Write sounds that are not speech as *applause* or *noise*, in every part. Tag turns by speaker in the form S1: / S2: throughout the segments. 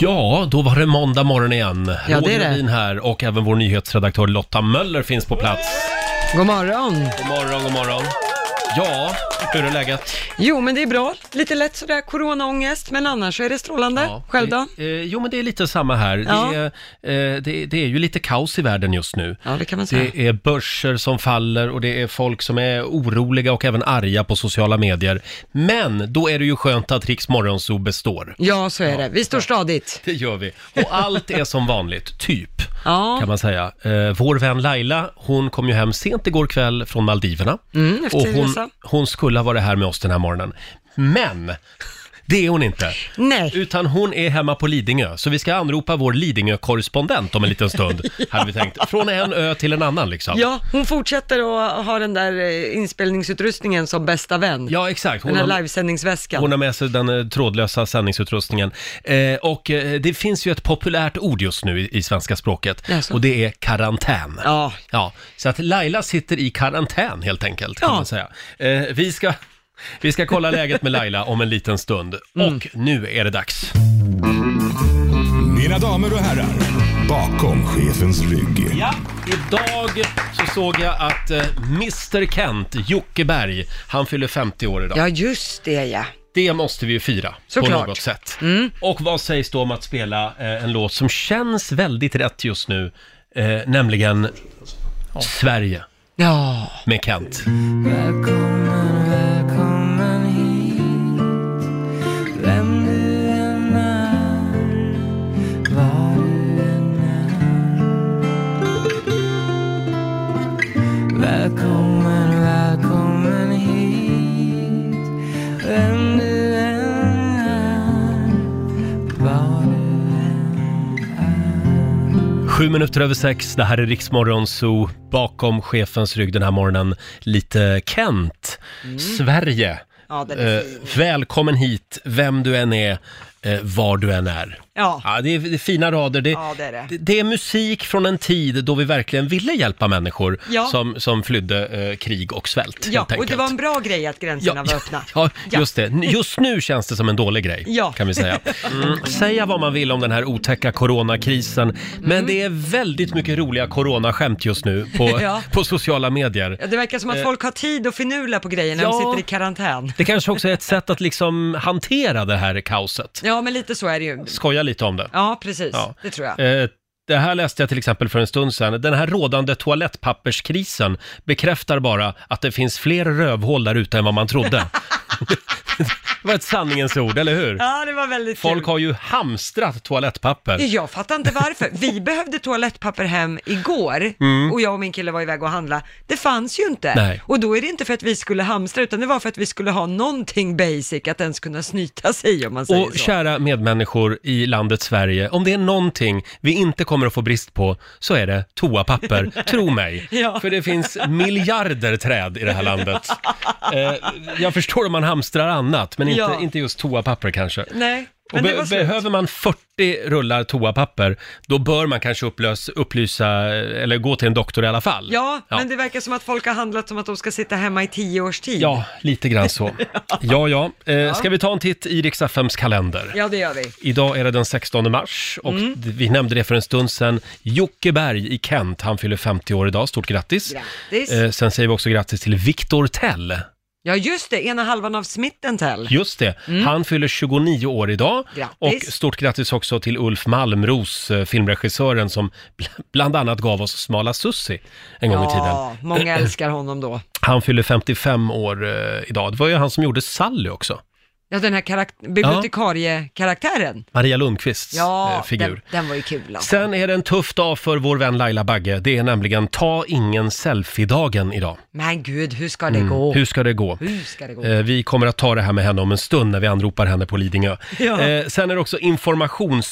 S1: Ja, då var det måndag morgon igen.
S2: Mm. det är
S1: Roger
S2: det.
S1: Nordin här och även vår nyhetsredaktör Lotta Möller finns på plats.
S2: God morgon!
S1: God morgon, god morgon. Ja, hur är läget?
S2: Jo, men det är bra. Lite lätt sådär coronaångest, men annars är det strålande. Själv då?
S1: Eh, eh, Jo, men det är lite samma här.
S2: Ja.
S1: Det, är, eh, det, det är ju lite kaos i världen just nu.
S2: Ja, det kan man säga.
S1: Det är börser som faller och det är folk som är oroliga och även arga på sociala medier. Men då är det ju skönt att Riks Morgonzoo består.
S2: Ja, så är det. Vi står stadigt.
S1: Det gör vi. Och allt är som vanligt, typ,
S2: Ja,
S1: kan man säga. Eh, vår vän Laila, hon kom ju hem sent igår kväll från Maldiverna.
S2: mm, efter
S1: Och hon,
S2: resa.
S1: hon skulle ha varit här med oss den här morgonen. Men! *laughs* Det är hon inte.
S2: Nej,
S1: Utan hon är hemma på Lidingö, så vi ska anropa vår Lidingö-korrespondent om en liten
S2: *laughs*
S1: stund, hade vi tänkt. Från en ö till en annan liksom.
S2: ja, hon fortsätter att ha den där eh, inspelningsutrustningen som bästa vän.
S1: Ja, exakt. Hon
S2: Den här
S1: har,
S2: livesändningsväskan.
S1: hon har med sig den eh, trådlösa sändningsutrustningen. Eh, och eh, det finns ju ett populärt ord just nu i, i svenska språket
S2: Jaså?
S1: och det är karantän.
S2: Ja,
S1: Ja, så att Laila sitter i karantän helt enkelt kan
S2: Ja.
S1: man säga. Eh, vi, ska, vi ska kolla läget med Laila om en liten stund.
S2: Mm.
S1: Och nu är det dags.
S3: Mina damer och herrar, bakom chefens rygg.
S1: Ja, idag så såg jag att eh, Mr Kent, Jocke Berg, han fyller 50 år idag.
S2: ja just det ja.
S1: Det måste vi ju fira på
S2: Såklart.
S1: något sätt. Och vad sägs då om att spela eh, en låt som känns väldigt rätt just nu, eh, nämligen Sverige
S2: Ja,
S1: med Kent.
S4: Välkommen, välkommen hit Vem du än är, var du än är Välkommen, välkommen hit Vem du än är, var du än är
S1: Sju minuter över sex, det här är Riksmorgon Zoo. Bakom chefens rygg den här morgonen, lite Kent, Sverige.
S2: Mm. ja den är
S1: Eh,
S2: fin.
S1: välkommen hit, vem du än är, eh, var du än är.
S2: Ja,
S1: Ja, det är, det är fina rader. Det,
S2: ja det är det.
S1: det, det är musik från en tid då vi verkligen ville hjälpa människor
S2: Ja.
S1: som, som flydde eh, krig och svält.
S2: Ja,
S1: helt
S2: och det
S1: enkelt.
S2: var en bra grej att gränserna var öppna.
S1: *laughs* Ja,
S2: Ja.
S1: just det. N- Just nu känns det som en dålig grej,
S2: Ja.
S1: kan vi säga. Mm, säga vad man vill om den här otäcka coronakrisen,
S2: Mm.
S1: men det är väldigt mycket roliga coronaskämt just nu på,
S2: *laughs* Ja.
S1: på sociala medier.
S2: Ja, det verkar som att folk har tid att finula på grejer när
S1: Eh. ja.
S2: de sitter i karantän.
S1: Det kanske också är ett sätt att liksom hantera det här kaoset.
S2: Ja, men lite så är det ju.
S1: Skoja lite om det.
S2: Ja, precis.
S1: Ja.
S2: Det tror jag.
S1: Eh, Det här läste jag till exempel för en stund sedan. Den här rådande toalettpapperskrisen bekräftar bara att det finns fler rövhål där ute än vad man trodde. *laughs* det var ett sanningens ord, eller hur?
S2: Ja, det var väldigt
S1: Folk
S2: kul.
S1: har ju hamstrat toalettpapper.
S2: Jag fattar inte varför.
S1: *laughs*
S2: Vi behövde toalettpapper hem igår och jag och min kille var iväg och handla. Det fanns ju inte.
S1: Mm. Nej.
S2: Och då är det inte för att vi skulle hamstra utan det var för att vi skulle ha någonting basic att ens kunna snyta sig i, om man säger
S1: Och
S2: så.
S1: kära medmänniskor i landet Sverige, om det är någonting vi inte kommer att få brist på så är det
S2: *laughs*
S1: toapapper, tro mig.
S2: Ja.
S1: För det finns miljarder träd i det här landet. Eh, jag förstår om man hamstrar annat, men inte,
S2: Ja.
S1: inte just toapapper kanske.
S2: Nej,
S1: Och
S2: men det
S1: be-
S2: var slut.
S1: behöver man 40 rullar toapapper, då bör man kanske upplös, upplysa, eh, eller gå till en doktor i alla fall.
S2: Ja, men det verkar som att folk har handlat som att de ska sitta hemma i tio års tid.
S1: Ja, lite grann
S2: *laughs*
S1: så. ja, ja. Eh, ska vi ta en titt i Rix FMs kalender?
S2: Ja, Mm. det gör vi.
S1: Idag är det den 16 mars och d- vi nämnde det för en stund sedan. Jocke Berg i Kent, han fyller 50 år idag. Stort grattis!
S2: Grattis.
S1: Eh, sen säger vi också grattis till Viktor Tell.
S2: Ja, just det. Ena halvan av Smittentell.
S1: Just det, han fyller 29 år idag.
S2: Mm. Grattis.
S1: Och stort grattis också till Ulf Malmros, eh, filmregissören som bl- bland annat gav oss Smala Sussi en gång i tiden.
S2: Ja,
S1: *clears throat*
S2: många älskar honom då.
S1: Han fyller 55 år eh, idag. Det var ju han som gjorde Sally också.
S2: Ja, den här karakt- bibliotekariekaraktären.
S1: Maria Lundqvists
S2: Ja,
S1: eh, figur.
S2: Den, den var ju kul alltså.
S1: Sen är det en tuff dag för vår vän Laila Bagge. Det är nämligen ta ingen selfie-dagen idag.
S2: Men gud, hur ska det gå?
S1: Mm. Hur ska det gå?
S2: Hur ska det gå?
S1: Eh, Vi kommer att ta det här med henne om en stund när vi anropar henne på Lidingö.
S2: Ja.
S1: Eh, Sen är det också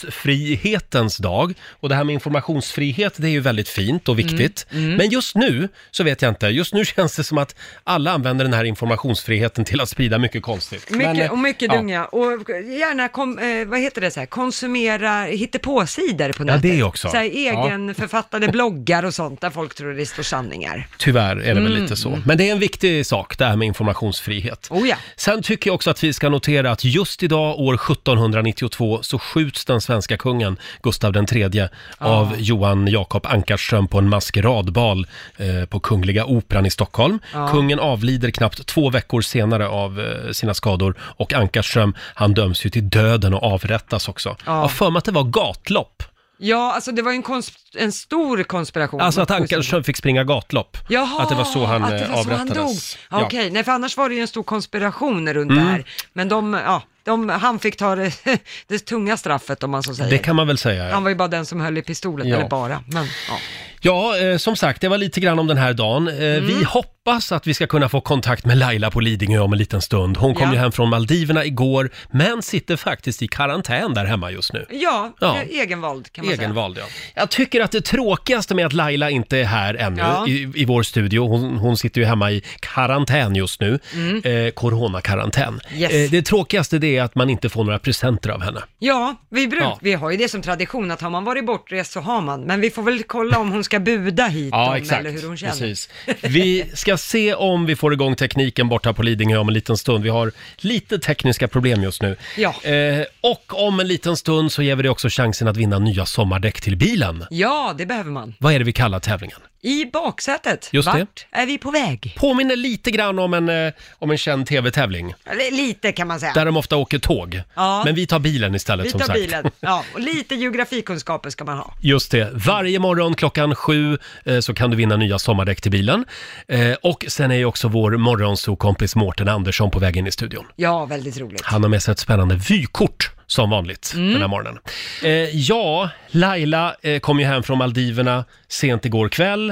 S1: informationsfrihetens dag. Och det här med informationsfrihet, det är ju väldigt fint och viktigt.
S2: Mm,
S1: Men just nu så vet *laughs* jag inte. Just nu känns det som att alla använder den här informationsfriheten till att sprida mycket konstigt.
S2: Mycket,
S1: Men, eh,
S2: och mycket
S1: Ja.
S2: dunga. Och gärna, kom, eh, vad heter det, så här, konsumera hittepåsidor på
S1: Ja,
S2: nätet.
S1: det också.
S2: Så här, egenförfattade bloggar och sånt där folk tror det står sanningar.
S1: Tyvärr är det väl lite så. Men det är en viktig sak, det här med informationsfrihet.
S2: Mm. Oh ja.
S1: Sen tycker jag också att vi ska notera att just idag, år 1792, så skjuts den svenska kungen, Gustav III,
S2: Ah.
S1: av Johan Jakob Ankarström på en maskeradbal eh, på Kungliga Operan i Stockholm.
S2: Ah.
S1: Kungen avlider knappt två veckor senare av eh, sina skador och Ankarström, han döms ju till döden och avrättas också. Jag har för mig att det var gatlopp,
S2: Ah. Ja, alltså det var ju en, konsp- en stor konspiration.
S1: alltså att Ankarström fick springa gatlopp.
S2: Jaha,
S1: att det var så han
S2: att det
S1: eh,
S2: var så han
S1: avrättades.
S2: dog. Ja,
S1: Ja. Mm.
S2: Okej, nej för annars var det ju en stor konspiration runt det här. Men de, ja, de, han fick ta det, *laughs* det tunga straffet om man så säger.
S1: Det kan man väl säga. Ja.
S2: Han var ju bara den som höll i pistolen,
S1: Ja.
S2: eller bara, men ja.
S1: Ja, eh, som sagt, det var lite grann om den här dagen. Eh,
S2: Mm.
S1: Vi hoppas att vi ska kunna få kontakt med Laila på Lidingö om en liten stund. Hon kom
S2: Ja.
S1: ju hem från Maldiverna igår, men sitter faktiskt i karantän där hemma just nu.
S2: Ja,
S1: Ja.
S2: egenvald kan man säga.
S1: Egenvald, ja. Jag tycker att det tråkigaste med att Laila inte är här ännu
S2: Ja.
S1: i, i vår studio, hon, hon sitter ju hemma i karantän just nu, eh, coronakarantän.
S2: Mm. Yes.
S1: Eh, det tråkigaste det är att man inte får några presenter av henne.
S2: Ja, vi, bruk,
S1: Ja.
S2: vi har ju det som tradition att har man varit bortrest så har man, men vi får väl kolla om hon ska buda hit dem, eller hur hon känner.
S1: Precis. Vi ska se om vi får igång tekniken borta på Lidingö om en liten stund. Vi har lite tekniska problem just nu.
S2: Ja.
S1: Eh, och om en liten stund så ger vi dig också chansen att vinna nya sommardäck till bilen.
S2: Ja, det behöver man.
S1: Vad är det vi kallar tävlingen?
S2: I baksätet,
S1: Just det.
S2: vart är vi på väg?
S1: Påminner lite grann om en, eh, om en känd tv-tävling,
S2: Eller Lite kan man säga.
S1: där de ofta åker tåg.
S2: Ja.
S1: Men vi tar bilen istället
S2: Vi
S1: som
S2: tar
S1: sagt.
S2: bilen. Ja, och lite geografikunskaper ska man ha.
S1: *laughs* Just det. Varje morgon klockan sju eh, så kan du vinna nya sommardäck till bilen. Eh, och sen är ju också vår morgonsokompis Mårten Andersson på väg in i studion.
S2: Ja, väldigt roligt.
S1: Han har med sig ett spännande vykort som vanligt den här morgonen. Eh, ja, Laila eh, kom ju hem från Maldiverna sent igår kväll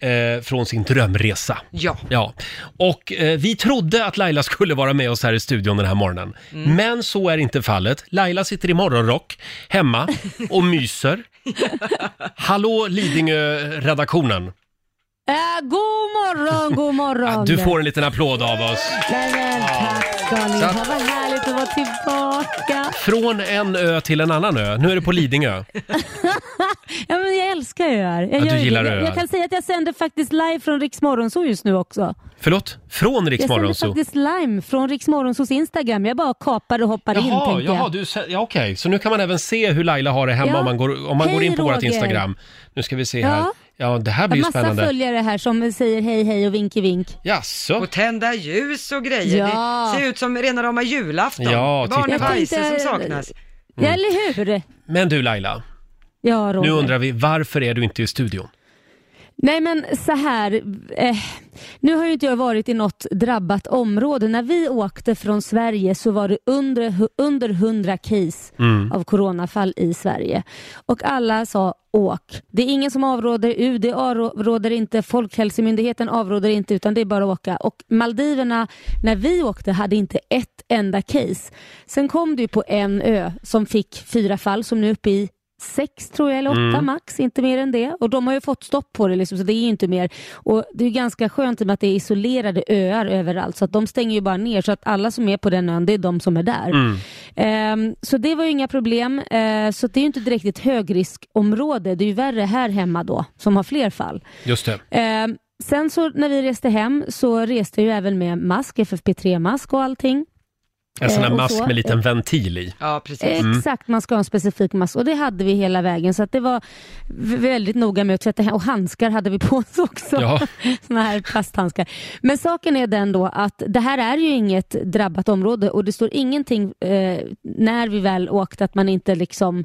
S1: eh, från sin drömresa.
S2: Ja.
S1: Ja, och eh, vi trodde att Laila *laughs* skulle vara med oss här i studion den här morgonen. Men så är inte fallet. Laila sitter i morgonrock hemma och myser. Hallå Lidingö-redaktionen.
S5: Äh, god morgon, god morgon.
S1: Du får en liten applåd av oss.
S5: Nej, men, tack ska ni ha. Vad härligt att vara tillbaka.
S1: Från en ö till en annan ö. Nu är du på Lidingö.
S5: Ja, men jag älskar öar. Jag,
S1: du
S5: gör det.
S1: gillar
S5: jag,
S1: öar.
S5: jag kan säga att jag sänder faktiskt live från Rix Morgonzoo just nu också.
S1: Förlåt? Från Rix
S5: Jag sänder
S1: Morgonzoo.
S5: faktiskt live från Rix Morgonzoos Instagram. Jag bara kapar och hoppar in
S1: Jaha,
S5: tänker
S1: jaha
S5: jag.
S1: du, sä- ja, okej. Så nu kan man även se hur Laila har det hemma
S5: Ja.
S1: om man går, om man går
S5: Hej,
S1: in på vårt
S5: Roger.
S1: Instagram. Nu ska vi se
S5: Ja.
S1: här. Ja, det här
S5: Jag
S1: blir
S5: har
S1: ju
S5: massa
S1: spännande.
S5: följare här som säger hej hej och vinki vink.
S1: Jaså?
S2: Och tända ljus och grejer.
S5: Ja.
S2: Det ser ut som rena rama julafton.
S1: Ja, titta.
S2: Barnpajser
S5: Jag
S2: som
S5: tänkte-
S2: saknas.
S5: Ja, eller hur?
S1: Men du Laila,
S5: Ja,
S1: nu
S5: Roger.
S1: undrar vi varför är du inte i studion?
S5: Nej men så här, eh, nu har ju inte jag varit i något drabbat område. När vi åkte från Sverige så var det under, under 100 case av coronafall i Sverige. Och alla sa åk. Det är ingen som avråder, UD avråder inte, Folkhälsomyndigheten avråder inte utan det är bara att åka. Och Maldiverna, när vi åkte, hade inte ett enda case. Sen kom det ju på en ö som fick fyra fall som nu är uppe i sex tror jag, eller åtta max, inte mer än det. Och de har ju fått stopp på det, liksom, så det är ju inte mer. Och Det är ju ganska skönt i och med att det är isolerade öar överallt, så att de stänger ju bara ner, så att alla som är på den ön, det är de som är där. Ehm, så det var ju inga problem, Ehm, så det är ju inte direkt ett högriskområde. Det är ju värre här hemma då, som har fler fall.
S1: Just det.
S5: Ehm, sen så när vi reste hem så reste jag ju även med mask, FFP3-mask och allting.
S1: En sån här
S5: Eh, och
S1: mask
S5: så-
S1: med en liten ventil i.
S2: Ja, precis.
S1: Mm.
S5: Exakt, man ska ha en specifik mask och det hade vi hela vägen. Så att det var v- väldigt noga med att tvätta hem- och handskar hade vi på oss också.
S1: Ja.
S5: *laughs* Såna här plasthandskar. Men saken är den då att det här är ju inget drabbat område och det står ingenting eh, när vi väl åkte att man inte liksom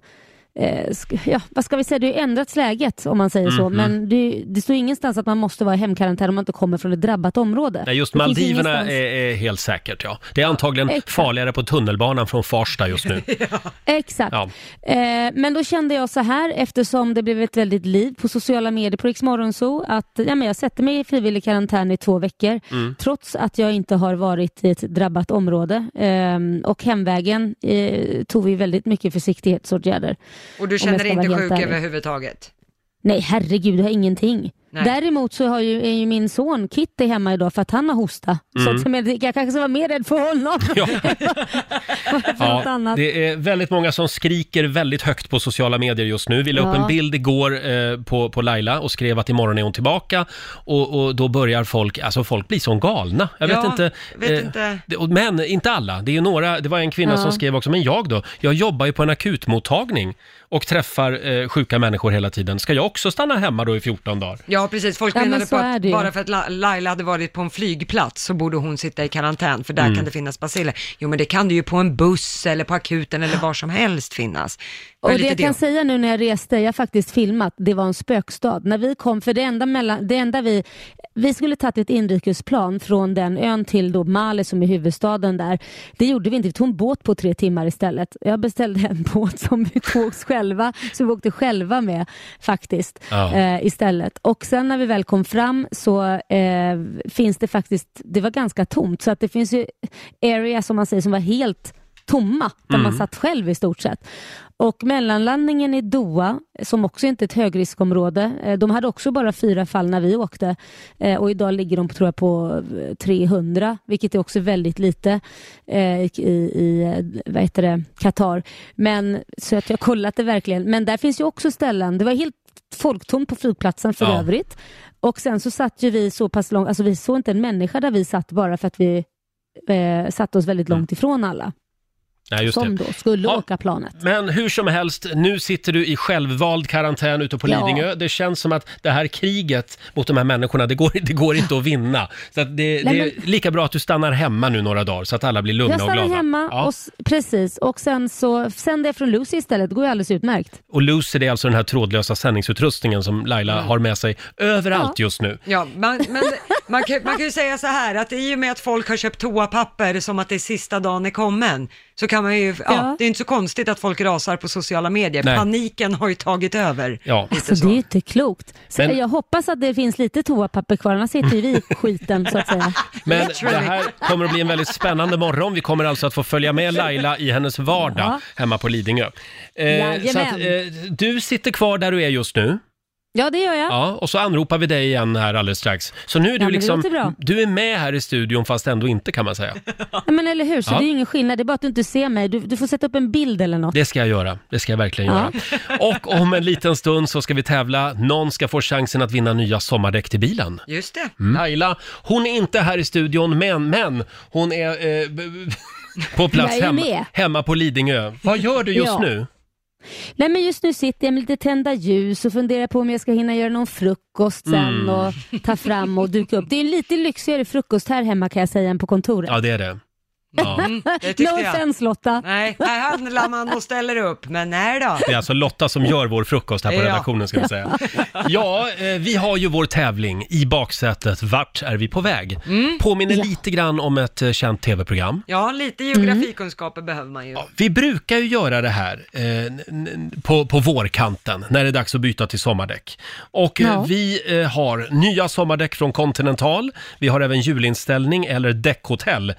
S5: eh, sk- Ja, vad ska vi säga, det har ju ändrats läget om man säger
S1: Mhm.
S5: så, men det, det står ingenstans att man måste vara i hemkarantän om man inte kommer från ett drabbat område.
S1: Nej, just
S5: Det finns
S1: Maldiverna
S5: ingenstans.
S1: är, är helt säkert ja. Det är antagligen
S5: Exakt.
S1: farligare på tunnelbanan från Farsta just
S5: *laughs*
S1: nu.
S5: Exakt.
S1: Ja.
S5: Eh, men då kände jag så här, eftersom det blev ett väldigt liv på sociala medier på Rix Morgonzoo, att ja, men jag sätter mig i frivillig karantän i två veckor,
S1: Mm.
S5: trots att jag inte har varit i ett drabbat område. Ehm, och hemvägen eh, tog vi väldigt mycket försiktighetsåtgärder.
S2: Och du
S5: Om jag
S2: känner
S5: ska
S2: dig inte
S5: vara helt
S2: sjuk
S5: ärlig.
S2: överhuvudtaget?
S5: Nej, herregud, jag har ingenting.
S2: Nej.
S5: Däremot så har ju, är ju min son Kitty hemma idag för att han har hosta. Så att, jag menar, jag kanske ska vara mer rädd för honom
S1: Mm. Ja.
S5: än *laughs* för något
S1: Ja,
S5: annat.
S1: det är väldigt många som skriker väldigt högt på sociala medier just nu. Vi la upp
S5: Ja.
S1: en bild igår eh, på, på Laila och skrev att imorgon är hon tillbaka. Och, och då börjar folk, alltså folk blir som galna. Jag vet
S2: Ja,
S1: inte. eh,
S2: vet inte.
S1: det- och- Men inte alla. Det, är ju några, det var en kvinna
S5: Ja.
S1: som skrev också, men jag då? Jag jobbar ju på en akutmottagning och träffar eh, sjuka människor hela tiden. Ska jag också stanna hemma då i 14 dagar?
S2: Ja, precis. Folk
S5: Ja, men
S2: menade
S5: så
S2: på
S5: är
S2: att
S5: det ju.
S2: bara för att La- Laila hade varit på en flygplats så borde hon sitta i karantän, för där
S1: Mm.
S2: kan det finnas baciller. Jo, men det kan det ju på en buss eller på akuten eller var som helst finnas. var
S5: Och det
S2: lite
S5: jag kan
S2: det.
S5: säga nu när jag reste, jag har faktiskt filmat, det var en spökstad. När vi kom, för det enda, mellan, det enda vi, vi skulle tagit ett inrikesplan från den ön till då Mali som är huvudstaden där. Det gjorde vi inte, vi tog en båt på tre timmar istället. Jag beställde en *laughs* båt som vi tog oss själva, som vi åkte själva med faktiskt
S1: Ja.
S5: eh, istället. Och sen när vi väl kom fram så eh, finns det faktiskt, det var ganska tomt, så att det finns ju area som man säger som var helt tomma, där man satt själv i stort sett. Och mellanlandningen i Doha, som också inte är ett högriskområde, eh, de hade också bara fyra fall när vi åkte eh, och idag ligger de på, tror jag, på eh, 300, vilket är också väldigt lite eh, i, i eh, vad heter det, Qatar. Men, så att jag kollat det verkligen. Men där finns ju också ställen, det var helt folktomt på flygplatsen för
S1: Ja.
S5: övrigt. Och sen så satt ju vi så pass långt, alltså vi såg inte en människa där vi satt bara för att vi eh, satte oss väldigt långt ifrån alla
S1: Nej, Mm. just
S5: som
S1: det.
S5: då skulle
S1: Ja.
S5: åka planet.
S1: Men hur som helst, nu sitter du i självvald karantän ute på
S5: Ja.
S1: Lidingö. Det känns som att det här kriget mot de här människorna, det går, det går inte att vinna. Så att det,
S5: Nej,
S1: det är lika bra att du stannar hemma nu några dagar så att alla blir lugna
S5: Jag
S1: och glada.
S5: stannar hemma,
S1: Ja.
S5: och, s- precis, och sen så sänder jag från Lucy istället. Det går ju alldeles utmärkt.
S1: Och Lucy, det är alltså den här trådlösa sändningsutrustningen som Laila har med sig överallt just nu.
S2: Ja, man, men man, kan, man kan ju säga så här att i och med att folk har köpt toapapper som att det är sista dagen är kommen, så kan man ju, ja,
S5: Ja.
S2: det är inte så konstigt att folk rasar på sociala medier.
S1: Nej.
S2: Paniken har ju tagit över.
S1: Ja.
S2: Lite
S5: Alltså
S2: så.
S5: det är ju inte klokt. Så
S1: Men-
S5: Jag hoppas att det finns lite toapapper kvar, annars sitter ju vi i skiten så
S1: *laughs*
S5: att säga.
S1: Men det
S2: Literally.
S1: här kommer att bli en väldigt spännande morgon. Vi kommer alltså att få följa med Laila i hennes vardag
S5: Ja.
S1: hemma på Lidingö. Eh, så att,
S5: Jajamän.
S1: eh, du sitter kvar där du är just nu.
S5: Ja, det gör jag.
S1: Ja, och så anropar vi dig igen här alldeles strax. Så nu är du
S5: Ja, men det låter
S1: liksom,
S5: bra.
S1: du är med här i studion fast ändå inte kan man säga.
S5: Ja, Men eller hur, så
S1: Ja.
S5: det är ju ingen skillnad. Det är bara att du inte ser mig. Du, du får sätta upp en bild eller något.
S1: Det ska jag göra, det ska jag verkligen
S5: Ja.
S1: göra. Och om en liten stund så ska vi tävla, någon ska få chansen att vinna nya sommardäck till bilen.
S2: Just det.
S1: Laila, hon är inte här i studion men, men hon är eh, b- b- på plats
S5: Jag är
S1: hem,
S5: med.
S1: hemma på Lidingö. Vad gör du just
S5: Ja.
S1: nu?
S5: Nej men just nu sitter jag med lite tända ljus och funderar på om jag ska hinna göra någon frukost sen och ta fram och duka upp. Det är en lite lyxigare frukost här hemma kan jag säga än på kontoret.
S1: Ja, det är det. Ja.
S2: Mm, det tyckte
S5: No
S2: jag.
S5: offense Lotta.
S2: Nej, här handlar man och ställer upp, men nej då.
S1: Det är alltså Lotta som gör vår frukost här på
S2: Ja.
S1: redaktionen ska vi säga. Ja, eh, vi har ju vår tävling i baksätet. Vart är vi på väg? Påminner lite grann om ett eh, känt tv-program.
S2: Ja, lite geografikunskaper behöver man ju.
S1: Vi brukar ju göra det här eh, n- n- på, på vårkanten när det är dags att byta till sommardäck. Och eh,
S5: Ja.
S1: vi eh, har nya sommardäck från Continental. Vi har även julinställning eller däckhotell. Eh,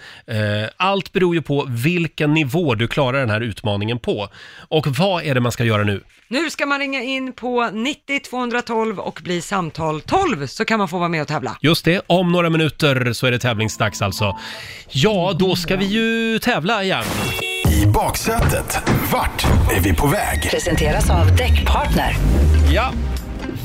S1: allt beror ju på vilken nivå du klarar den här utmaningen på. Och vad är det man ska göra nu?
S2: Nu ska man ringa in på 90 212 och bli samtal 12 så kan man få vara med och tävla.
S1: Just det, om några minuter så är det tävlingsdags alltså. Ja, då ska vi ju tävla igen.
S3: I baksätet. Vart är vi på väg?
S6: Presenteras av Däckpartner.
S1: Ja.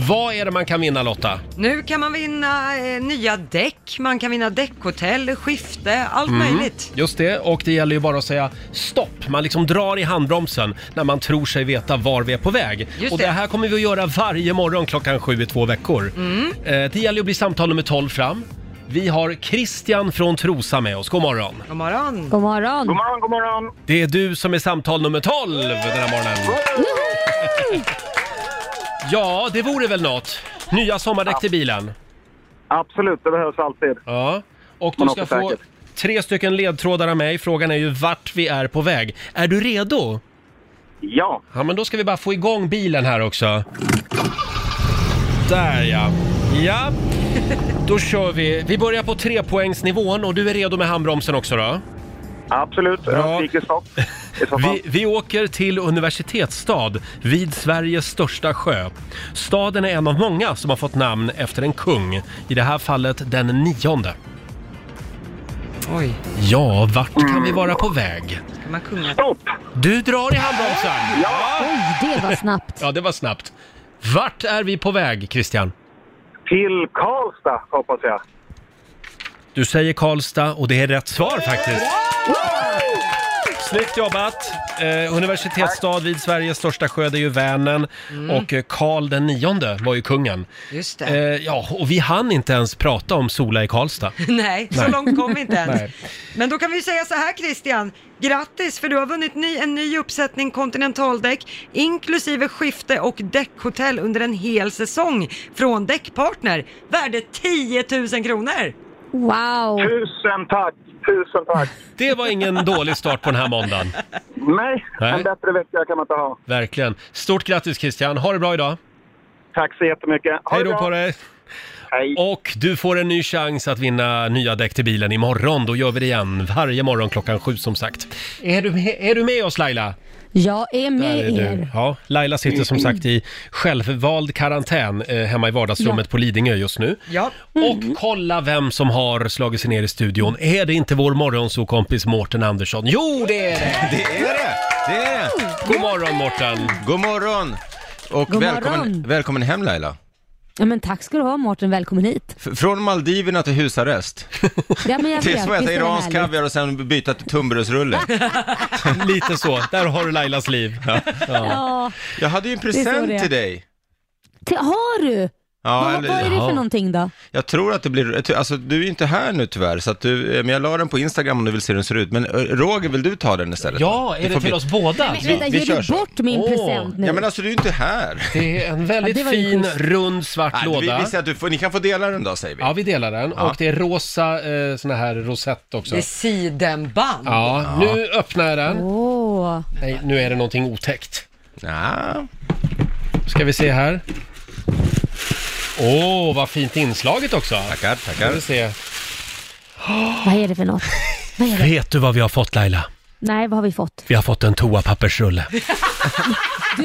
S1: Vad är det man kan vinna Lotta?
S2: Nu kan man vinna eh, nya däck, man kan vinna däckhotell, skifte, allt möjligt.
S1: Just det, och det gäller ju bara att säga stopp. Man liksom drar i handbromsen när man tror sig veta var vi är på väg.
S2: Just
S1: och det
S2: det.
S1: här kommer vi att göra varje morgon klockan sju i två veckor.
S2: Mm.
S1: Eh, Det gäller ju att bli samtal nummer 12 fram. Vi har Christian från Trosa med oss. God morgon.
S2: God morgon.
S5: God morgon.
S7: God morgon, god morgon.
S1: Det är du som är samtal nummer 12 den här morgonen. Ja, det vore väl något. Nya sommardäck till bilen.
S7: Absolut, det behövs alltid.
S1: Ja, och du
S7: Man
S1: ska
S7: åker
S1: få
S7: säkert.
S1: tre stycken ledtrådar av mig. Frågan är ju vart vi är på väg. Är du redo?
S7: Ja,
S1: Ja, men då ska vi bara få igång bilen här också. Där ja. Ja, då kör vi. Vi börjar på trepoängsnivån och du är redo med handbromsen också då?
S7: Absolut.
S1: Bra.
S7: Jag sticker stopp i så fall.
S1: Vi, vi åker till universitetsstad vid Sveriges största sjö. Staden är en av många som har fått namn efter en kung. I det här fallet den nionde.
S2: Oj,
S1: Ja, vart kan vi vara på väg?
S2: ska man kunga?
S7: Stopp!
S1: Du drar i handbromsen! Ja!
S5: Oj, det var snabbt.
S1: Ja, det var snabbt. Vart är vi på väg, Christian?
S7: Till Karlstad, hoppas jag.
S1: Du säger Karlstad och det är rätt svar faktiskt. Snyggt jobbat! Eh, universitetsstad vid Sveriges största sjö, det är ju Vänern. Och eh, Karl den nionde var ju kungen.
S2: Just
S1: Eh,
S2: det.
S1: ja, och vi hann inte ens prata om Sola i Karlstad.
S2: Nej, så
S1: nej.
S2: långt kom vi inte ens.
S1: Nej.
S2: Men då kan vi säga så här Christian, grattis för du har vunnit ny, en ny uppsättning kontinentaldäck inklusive skifte och däckhotell under en hel säsong från Däckpartner, värde 10 000 kronor.
S5: Wow!
S7: Tusen tack! Tusen tack!
S1: Det var ingen dålig start på den här måndagen.
S7: Nej,
S1: Nej.
S7: en bättre vecka kan man inte ha.
S1: Verkligen. Stort grattis Christian, ha det bra idag.
S7: Tack så jättemycket. Ha
S1: Hej då
S7: det bra.
S1: på dig.
S7: Hej.
S1: Och du får en ny chans att vinna nya däck till bilen imorgon. Då gör vi det igen varje morgon klockan sju som sagt. Är du med, är du med oss Laila?
S5: Jag är med
S1: Där är du.
S5: er.
S1: Ja, Laila sitter som sagt i självvald karantän eh, hemma i vardagsrummet på Lidingö just nu.
S2: Ja.
S5: Mm.
S1: Och kolla vem som har slagit sig ner i studion. Är det inte vår morgonsokompis Mårten Andersson? Jo, det är det!
S8: Det är det! Det är det!
S1: God morgon Mårten!
S8: God morgon! Och
S5: God
S8: välkommen,
S5: morgon.
S8: välkommen hem Laila.
S5: Ja, men tack ska du ha Mårten, välkommen hit.
S8: F- från Maldiverna till husarrest.
S5: Ja, men jag
S8: Tills
S5: vet,
S8: får äta
S5: visst är det
S8: iransk
S5: härligt?
S8: kaviar och sen byta till tunnbrödsrulle.
S1: Lite så, där har du Lailas liv.
S5: Ja.
S8: Jag hade ju en
S5: *laughs* Det är så det är.
S8: present till dig.
S5: Te- Har du?
S8: Ja,
S5: vad, vad är det
S8: eller,
S5: för
S1: ja.
S5: någonting då?
S8: jag tror att det blir, alltså du är ju inte här nu tyvärr, så att du, eh, men jag la den på Instagram om du vill se hur den ser ut. Men eh, Roger, vill du ta den istället?
S1: Ja,
S8: Du
S1: är det
S8: får
S1: till
S8: bli-
S1: oss båda?
S5: Men vänta,
S8: vi
S5: ger
S8: kör
S5: du
S8: så.
S5: bort min
S1: Åh.
S5: present nu?
S8: Ja men alltså du är ju inte här.
S1: Det är en väldigt
S5: Ja, det var ju
S1: fin,
S5: schysst.
S1: rund, svart
S8: Nej, vi,
S1: låda.
S8: vi säger att du får, ni kan få dela den då säger vi.
S1: Ja, vi delar den. Och det är rosa eh, sån här rosett också.
S2: Det är sidenband.
S1: Ja, nu öppnar jag den.
S5: Åh,
S1: Nej, nu är det någonting otäckt.
S8: Ja.
S1: Ska vi se här. Åh, vad fint inslaget också.
S8: Tackar,
S1: Ska
S8: tackar.
S1: vi se.
S5: vad är det för något? Vad är det?
S1: Vet du vad vi har fått Laila?
S5: Nej, vad har vi fått?
S1: Vi har fått en toapappersrulle.
S5: Du,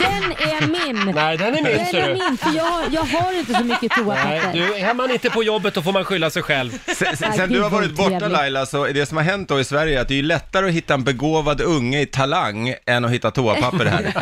S5: den är min!
S1: Nej, den är min
S5: Den
S1: ser
S5: är
S1: du.
S5: min, för jag, har- jag har inte så mycket
S1: Nej,
S5: toapapper.
S1: du, är man inte på jobbet då får man skylla sig
S5: *laughs*
S1: själv.
S8: Sen, sen,
S5: Nej,
S8: sen
S5: gud,
S8: du har
S5: vad
S8: varit borta
S5: otrevligt.
S8: Laila, så är det som har hänt då i Sverige är att det är ju lättare att hitta en begåvad unge i talang än att hitta
S5: *laughs*
S8: toapapper här.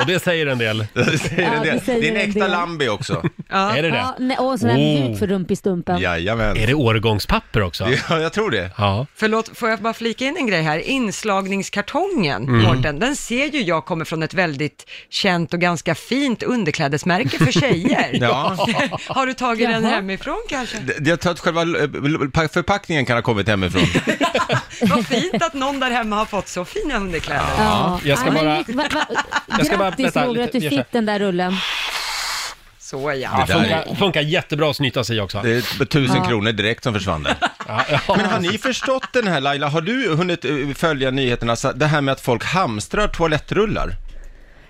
S1: Och det säger en del.
S8: Det säger
S5: Ja,
S8: en del.
S5: det säger
S8: det är
S5: en
S8: en äkta
S5: del.
S8: Lambi också.
S2: Ja.
S1: Är det
S5: Ja,
S1: det?
S5: nej, och sån här
S1: Oh.
S5: mjuk för rumpistumpen.
S8: Jajamän.
S1: Är det årgångspapper också?
S8: Ja, jag tror det.
S1: Ja.
S2: Förlåt, får jag bara flika in en grej här? Inslagningskartongen,
S1: Mm.
S2: Mårten, den ser ju jag kommer från ett väldigt känt och ganska fint underklädesmärke för tjejer.
S1: *laughs*
S8: Ja.
S2: *laughs* Har du tagit den
S5: Jaha.
S2: hemifrån kanske?
S8: Det- Jag tror att själva eh, förpackningen kan ha kommit hemifrån.
S2: Vad fint att någon där hemma har fått så fina underkläder.
S5: Ja.
S1: jag ska
S5: Ja, men
S1: bara-
S5: vi- va- va-
S1: Jag ska bara-
S5: Grattis
S1: vänta,
S5: Roger att
S1: lite-
S5: du
S1: jag
S5: fick den där rullen.
S2: Så
S1: Ja,
S2: ja.
S8: Det där är-
S1: funkar, funkar jättebra att snyta sig också.
S8: Det är tusen kronor direkt som försvann där.
S1: Ja, ja.
S8: Men har ni förstått den här Laila? Har du hunnit eh, följa nyheterna? Så- Det här med att folk hamstrar toalettrullar?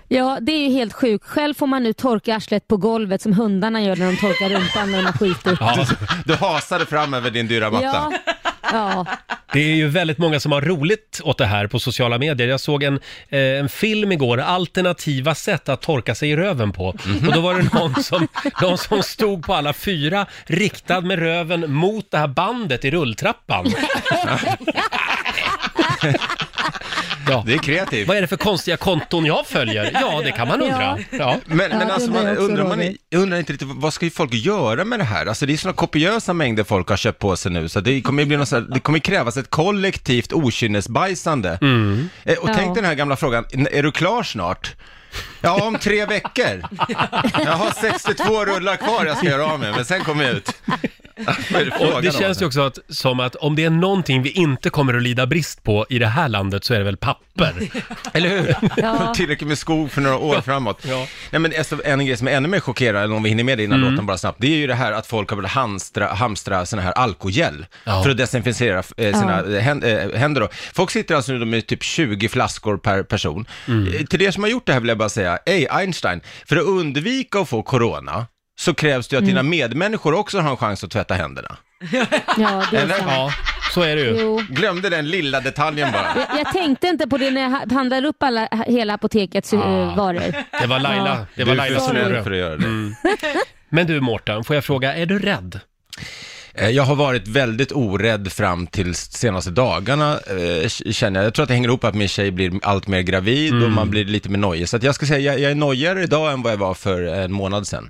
S5: Ja, det är ju helt sjukt. Själv får man nu torka arslet på golvet som hundarna gör när de torkar rumpan när de har skitit.
S1: Ja,
S8: Alltså, Du hasade fram över din dyra matta.
S5: ja. ja.
S1: det är ju väldigt många som har roligt åt det här på sociala medier. Jag såg en, eh, en film igår, alternativa sätt att torka sig i röven på. Och då var det någon som, någon som stod på alla fyra, riktad med röven mot det här bandet i rulltrappan. Ja.
S8: Det är kreativt.
S1: Vad är det för konstiga konton jag följer? Ja, det kan man undra. Ja.
S8: Men,
S5: Ja,
S8: men
S5: det
S8: alltså,
S5: undrar
S8: man,
S5: jag också,
S8: undrar, man,
S5: Roger.
S8: jag undrar inte riktigt, vad ska ju folk göra med det här? Alltså det är sådana kopiösa mängder folk har köpt på sig nu, så det kommer ju bli något så här, det kommer ju krävas ett kollektivt okynnesbajsande.
S1: Mm.
S8: Eh, och
S5: Ja.
S8: tänk den här gamla frågan, "N- är du klar snart? Ja, om tre veckor. Jag har 62 rullar kvar jag ska göra av med, men sen kommer jag ut. Vad är det frågan
S1: Och det
S8: om?
S1: känns ju också att, som att om det är någonting vi inte kommer att lida brist på i det här landet så är det väl papper.
S8: Eller hur?
S5: Ja.
S8: *laughs* Tillräckligt med skog för några år framåt.
S1: Ja. Mm.
S8: Nej, men alltså, en grej som är ännu mer chockerande, om vi hinner med det innan låten bara snabbt, det är ju det här att folk har börjat hamstra, hamstra sån här alkogel
S1: Ja.
S8: för att desinficera eh, sina
S5: Ja.
S8: eh, hän- eh, händer. Då. Folk sitter alltså nu med typ 20 flaskor per person.
S1: Mm.
S8: Eh, Till er som har gjort det här vill jag bara säga, ey Einstein, för att undvika att få corona,
S1: Mm.
S8: så krävs det ju att dina medmänniskor också har en chans att tvätta händerna.
S5: ja, det är
S8: Eller?
S5: sant.
S1: Ja, Så är det ju.
S5: Jo.
S8: Glömde den lilla detaljen bara.
S5: Jag, jag tänkte inte på det när jag ha- handlade upp alla, hela apotekets eh,
S1: Ah.
S5: varor.
S1: Det var Laila,
S5: Ja.
S1: det var
S8: du är
S1: Laila som
S8: för
S1: gjorde
S8: snäll för
S1: det. Mm.
S8: att göra det.
S1: Men du Mårten, får jag fråga, är du rädd?
S8: Eh, Jag har varit väldigt orädd fram till senaste dagarna, eh, k- känner jag. Jag tror att det hänger ihop att min tjej blir allt mer gravid och man blir lite mer nojig. Så att jag ska säga, jag, jag är nojigare idag än vad jag var för en månad sedan.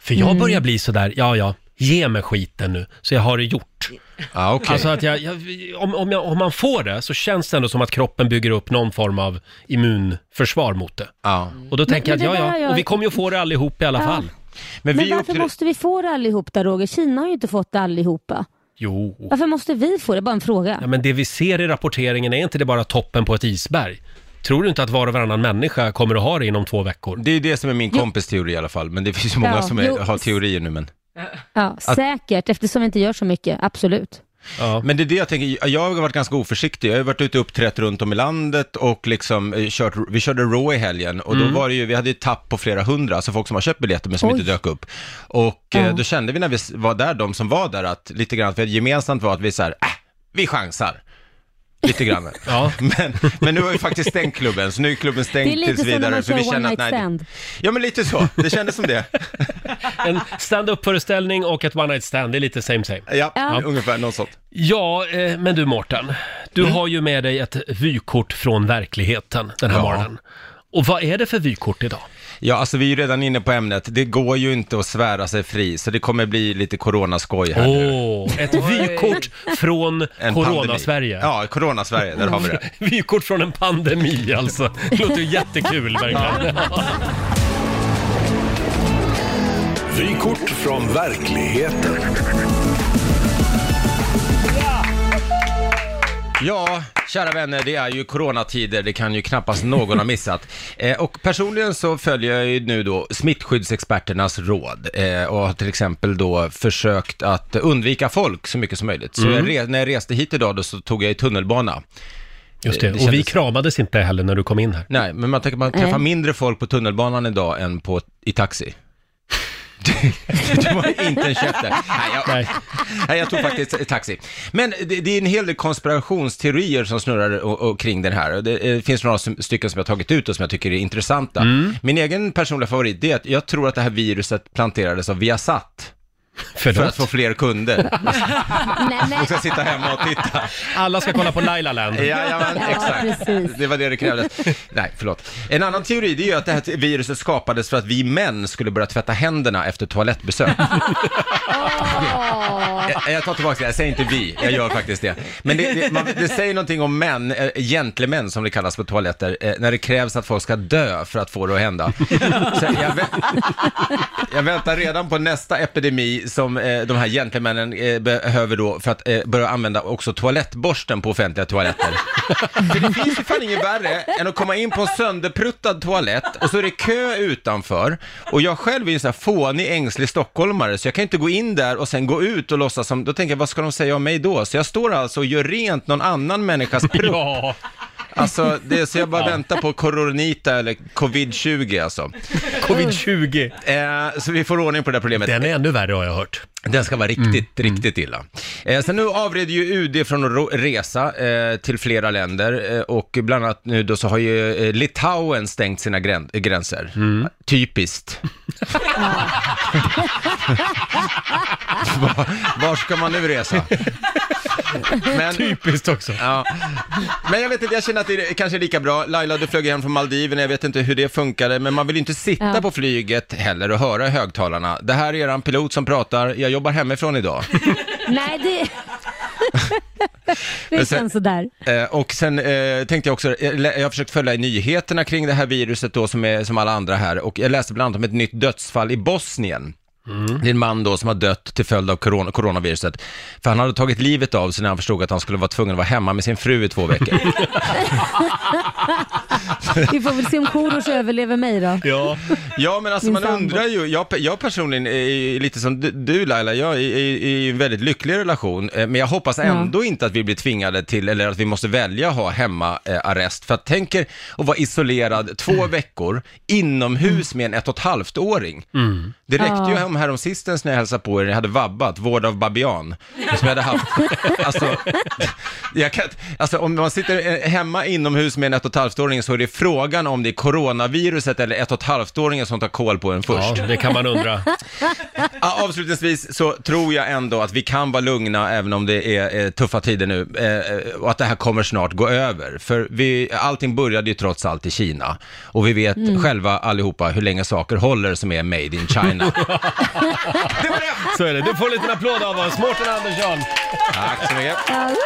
S1: För jag
S5: Mm.
S1: börjar bli sådär, ja ja, ge mig skiten nu, så jag har det gjort.
S8: Ja, okej.
S1: Alltså att jag, jag, om, om, jag, om man får det så känns det ändå som att kroppen bygger upp någon form av immunförsvar mot det.
S8: ja.
S1: Och då tänker
S5: men
S1: jag
S5: det
S1: att
S5: där
S1: ja, ja,
S5: jag-
S1: och vi kommer ju få det allihop i alla
S5: Ja.
S1: fall.
S8: Men,
S5: Men
S8: vi
S5: varför
S8: uppträder-
S5: måste vi få det allihop där Roger? Kina har ju inte fått det allihopa.
S1: Jo.
S5: Varför måste vi få det? Bara en fråga.
S1: Ja, men det vi ser i rapporteringen, är inte det bara toppen på ett isberg? Tror du inte att var och varannan människa kommer att ha det inom två veckor?
S8: Det är det som är min kompis teori i alla fall, men det finns ju många
S5: Ja,
S8: som är,
S5: jo.
S8: har teorier nu. Men...
S5: Ja, säkert, eftersom vi inte gör så mycket. Absolut.
S1: Ja.
S8: men det är det jag tänker, jag har varit ganska oförsiktig. Jag har ju varit ute och uppträtt runt om i landet och liksom eh, kört, vi körde Raw i helgen och då var det ju, vi hade ju tapp på flera hundra, alltså folk som har köpt biljetter men som
S5: Mm. Oj.
S8: inte dök upp. Och eh,
S5: Ja.
S8: då kände vi när vi s- var där, de som var där, att lite grann, för gemensamt var att vi så här, äh, vi chansar.
S5: *laughs*
S8: Lite grann.
S1: Ja.
S8: Men, men nu har vi faktiskt stängt klubben, så nu är klubben
S5: Det är
S8: stängd
S5: lite
S8: tills
S5: som när
S8: vidare.
S5: man
S8: så vi
S5: kör
S8: känner
S5: one
S8: att,
S5: night
S8: nej,
S5: stand.
S8: Ja men lite så, det kändes som det.
S1: En stand-up-föreställning och ett one-night-stand, det är lite same same.
S8: Ja,
S5: Ja.
S8: ungefär något sånt.
S1: Ja, eh, men du Mårten, du
S8: Mm.
S1: har ju med dig ett vykort från verkligheten den här
S8: Ja.
S1: morgonen. Och vad är det för vykort idag?
S8: Ja, alltså vi är ju redan inne på ämnet. Det går ju inte att svära sig fri, så det kommer bli lite coronaskoj här
S1: Åh,
S8: nu.
S1: ett vykort från
S8: En
S1: Corona-Sverige. Mm.
S8: pandemi. Ja, Corona-Sverige, där
S1: *laughs*
S8: har vi det.
S1: Vykort från en pandemi alltså. Det låter ju jättekul verkligen.
S3: Vykort från verkligheten.
S8: Ja, kära vänner, det är ju coronatider, det kan ju knappast någon
S1: *laughs*
S8: ha missat. Eh, och personligen så följer jag ju nu då smittskyddsexperternas råd eh, och har till exempel då försökt att undvika folk så mycket som möjligt.
S1: Mm.
S8: Så jag re- när jag reste hit idag då så tog jag i tunnelbana.
S1: Just det,
S8: Det
S1: och vi
S8: kändes-
S1: kramades inte heller när du kom in här.
S8: Nej, men man tänker man träffar
S5: Nej.
S8: mindre folk på tunnelbanan idag än på, i taxi. Det- det var inte en käft där. Nej, jag,
S1: Nej.
S8: nej. jag tog faktiskt taxi. Men det, det är en hel del konspirationsteorier som snurrar och, och kring den här. Och Det eh, finns några som, stycken som jag tagit ut och som jag tycker är intressanta. Min egen personliga favorit det är att jag tror att det här viruset planterades av Viasat för att
S1: Förlåt.
S8: få fler kunder.
S5: Nej, men,
S8: De ska sitta hemma och titta.
S1: Alla ska kolla på Laila Land.
S8: Jajamän,
S5: *laughs* Ja,
S8: exakt.
S5: precis.
S8: Det var det det krävdes. Nej, förlåt. En annan teori det är ju att det här viruset skapades för att vi män skulle börja tvätta händerna
S5: *laughs*
S8: efter toalettbesök. jag, jag tar tillbaka det, jag säger inte vi, jag gör faktiskt det. Men det, det, man, det säger någonting om män, eh, gentlemän som det kallas på toaletter, eh, när det krävs att folk ska dö för att få det att hända. Så jag, vä- jag väntar redan på nästa epidemi som eh, de här gentlemännen eh, behöver då för att eh, börja använda också toalettborsten på offentliga toaletter. för det finns ju fan inget värre än att komma in på en sönderpruttad toalett och så är det kö utanför och jag själv är ju en sån här fånig ängslig stockholmare så jag kan ju inte gå in där och sen gå ut och låtsas som, då tänker jag vad ska de säga om mig då? Så jag står alltså och gör rent någon annan människas prutt.
S1: Ja,
S8: Alltså, det, så jag bara väntar på coronita eller covid-20 alltså.
S1: covid-20.
S8: Eh, så vi får ordning på det här problemet.
S1: Den är ännu värre har jag hört.
S8: Den ska vara riktigt, riktigt illa. Eh, sen nu avred ju UD från att ro- resa eh, till flera länder eh, och bland annat nu då så har ju eh, Litauen stängt sina grän- gränser. Typiskt. var, var ska man nu resa? Men,
S1: Typiskt också.
S8: ja. men jag vet inte, jag känner att det är kanske är lika bra. Laila, du flög hem från Maldiverna, jag vet inte hur det funkade, men man vill ju inte sitta
S5: Ja.
S8: på flyget heller och höra i högtalarna. Det här är eran pilot som pratar, jag jobbar hemifrån idag.
S5: nej
S1: *laughs*
S5: det...
S8: Men
S5: det
S8: sen-
S5: känns sådär.
S8: Eh, och sen eh, tänkte jag också, jag lä- jag har försökt följa nyheterna kring det här viruset då som, är, som alla andra här och jag läste bland annat om ett nytt dödsfall i Bosnien.
S5: Mm.
S8: Det är en man då som har dött till följd av corona, coronaviruset. För han hade tagit livet av sig när han förstod att han skulle vara tvungen att vara hemma med sin fru i två veckor.
S5: *laughs* Vi får väl se om Korosh överlever mig då.
S1: Ja,
S8: ja men alltså
S5: Min
S8: man
S5: sambo.
S8: undrar ju, jag, pe- jag personligen är ju lite som du- du Laila, jag är är- är i en väldigt lycklig relation. eh, Men jag hoppas ändå inte att vi blir tvingade till, eller att vi måste välja att ha hemmaarrest. För att tänk er att vara isolerad två veckor inomhus med en ett och ett halvt åring. Det räckte ju om härom sistens när jag hälsade på er, ni hade vabbat, vård av babian, som jag hade haft. Alltså, jag kan, inte- alltså om man sitter eh, hemma inomhus med en ett och ett halvt-åring så är det frågan om det är coronaviruset eller ett och ett halvt-åringen som tar koll på en först.
S1: Ja, det kan man undra.
S8: Ja, avslutningsvis så tror jag ändå att vi kan vara lugna även om det är eh, tuffa tider nu eh, och att det här kommer snart gå över. För vi, allting började ju trots allt i Kina och vi vet
S1: Mm.
S8: själva allihopa hur länge saker håller som är made in
S1: *laughs*
S8: China. *laughs*
S1: Så är det. Du får en liten applåd av oss, Mårten Andersson.
S8: Tack så mycket.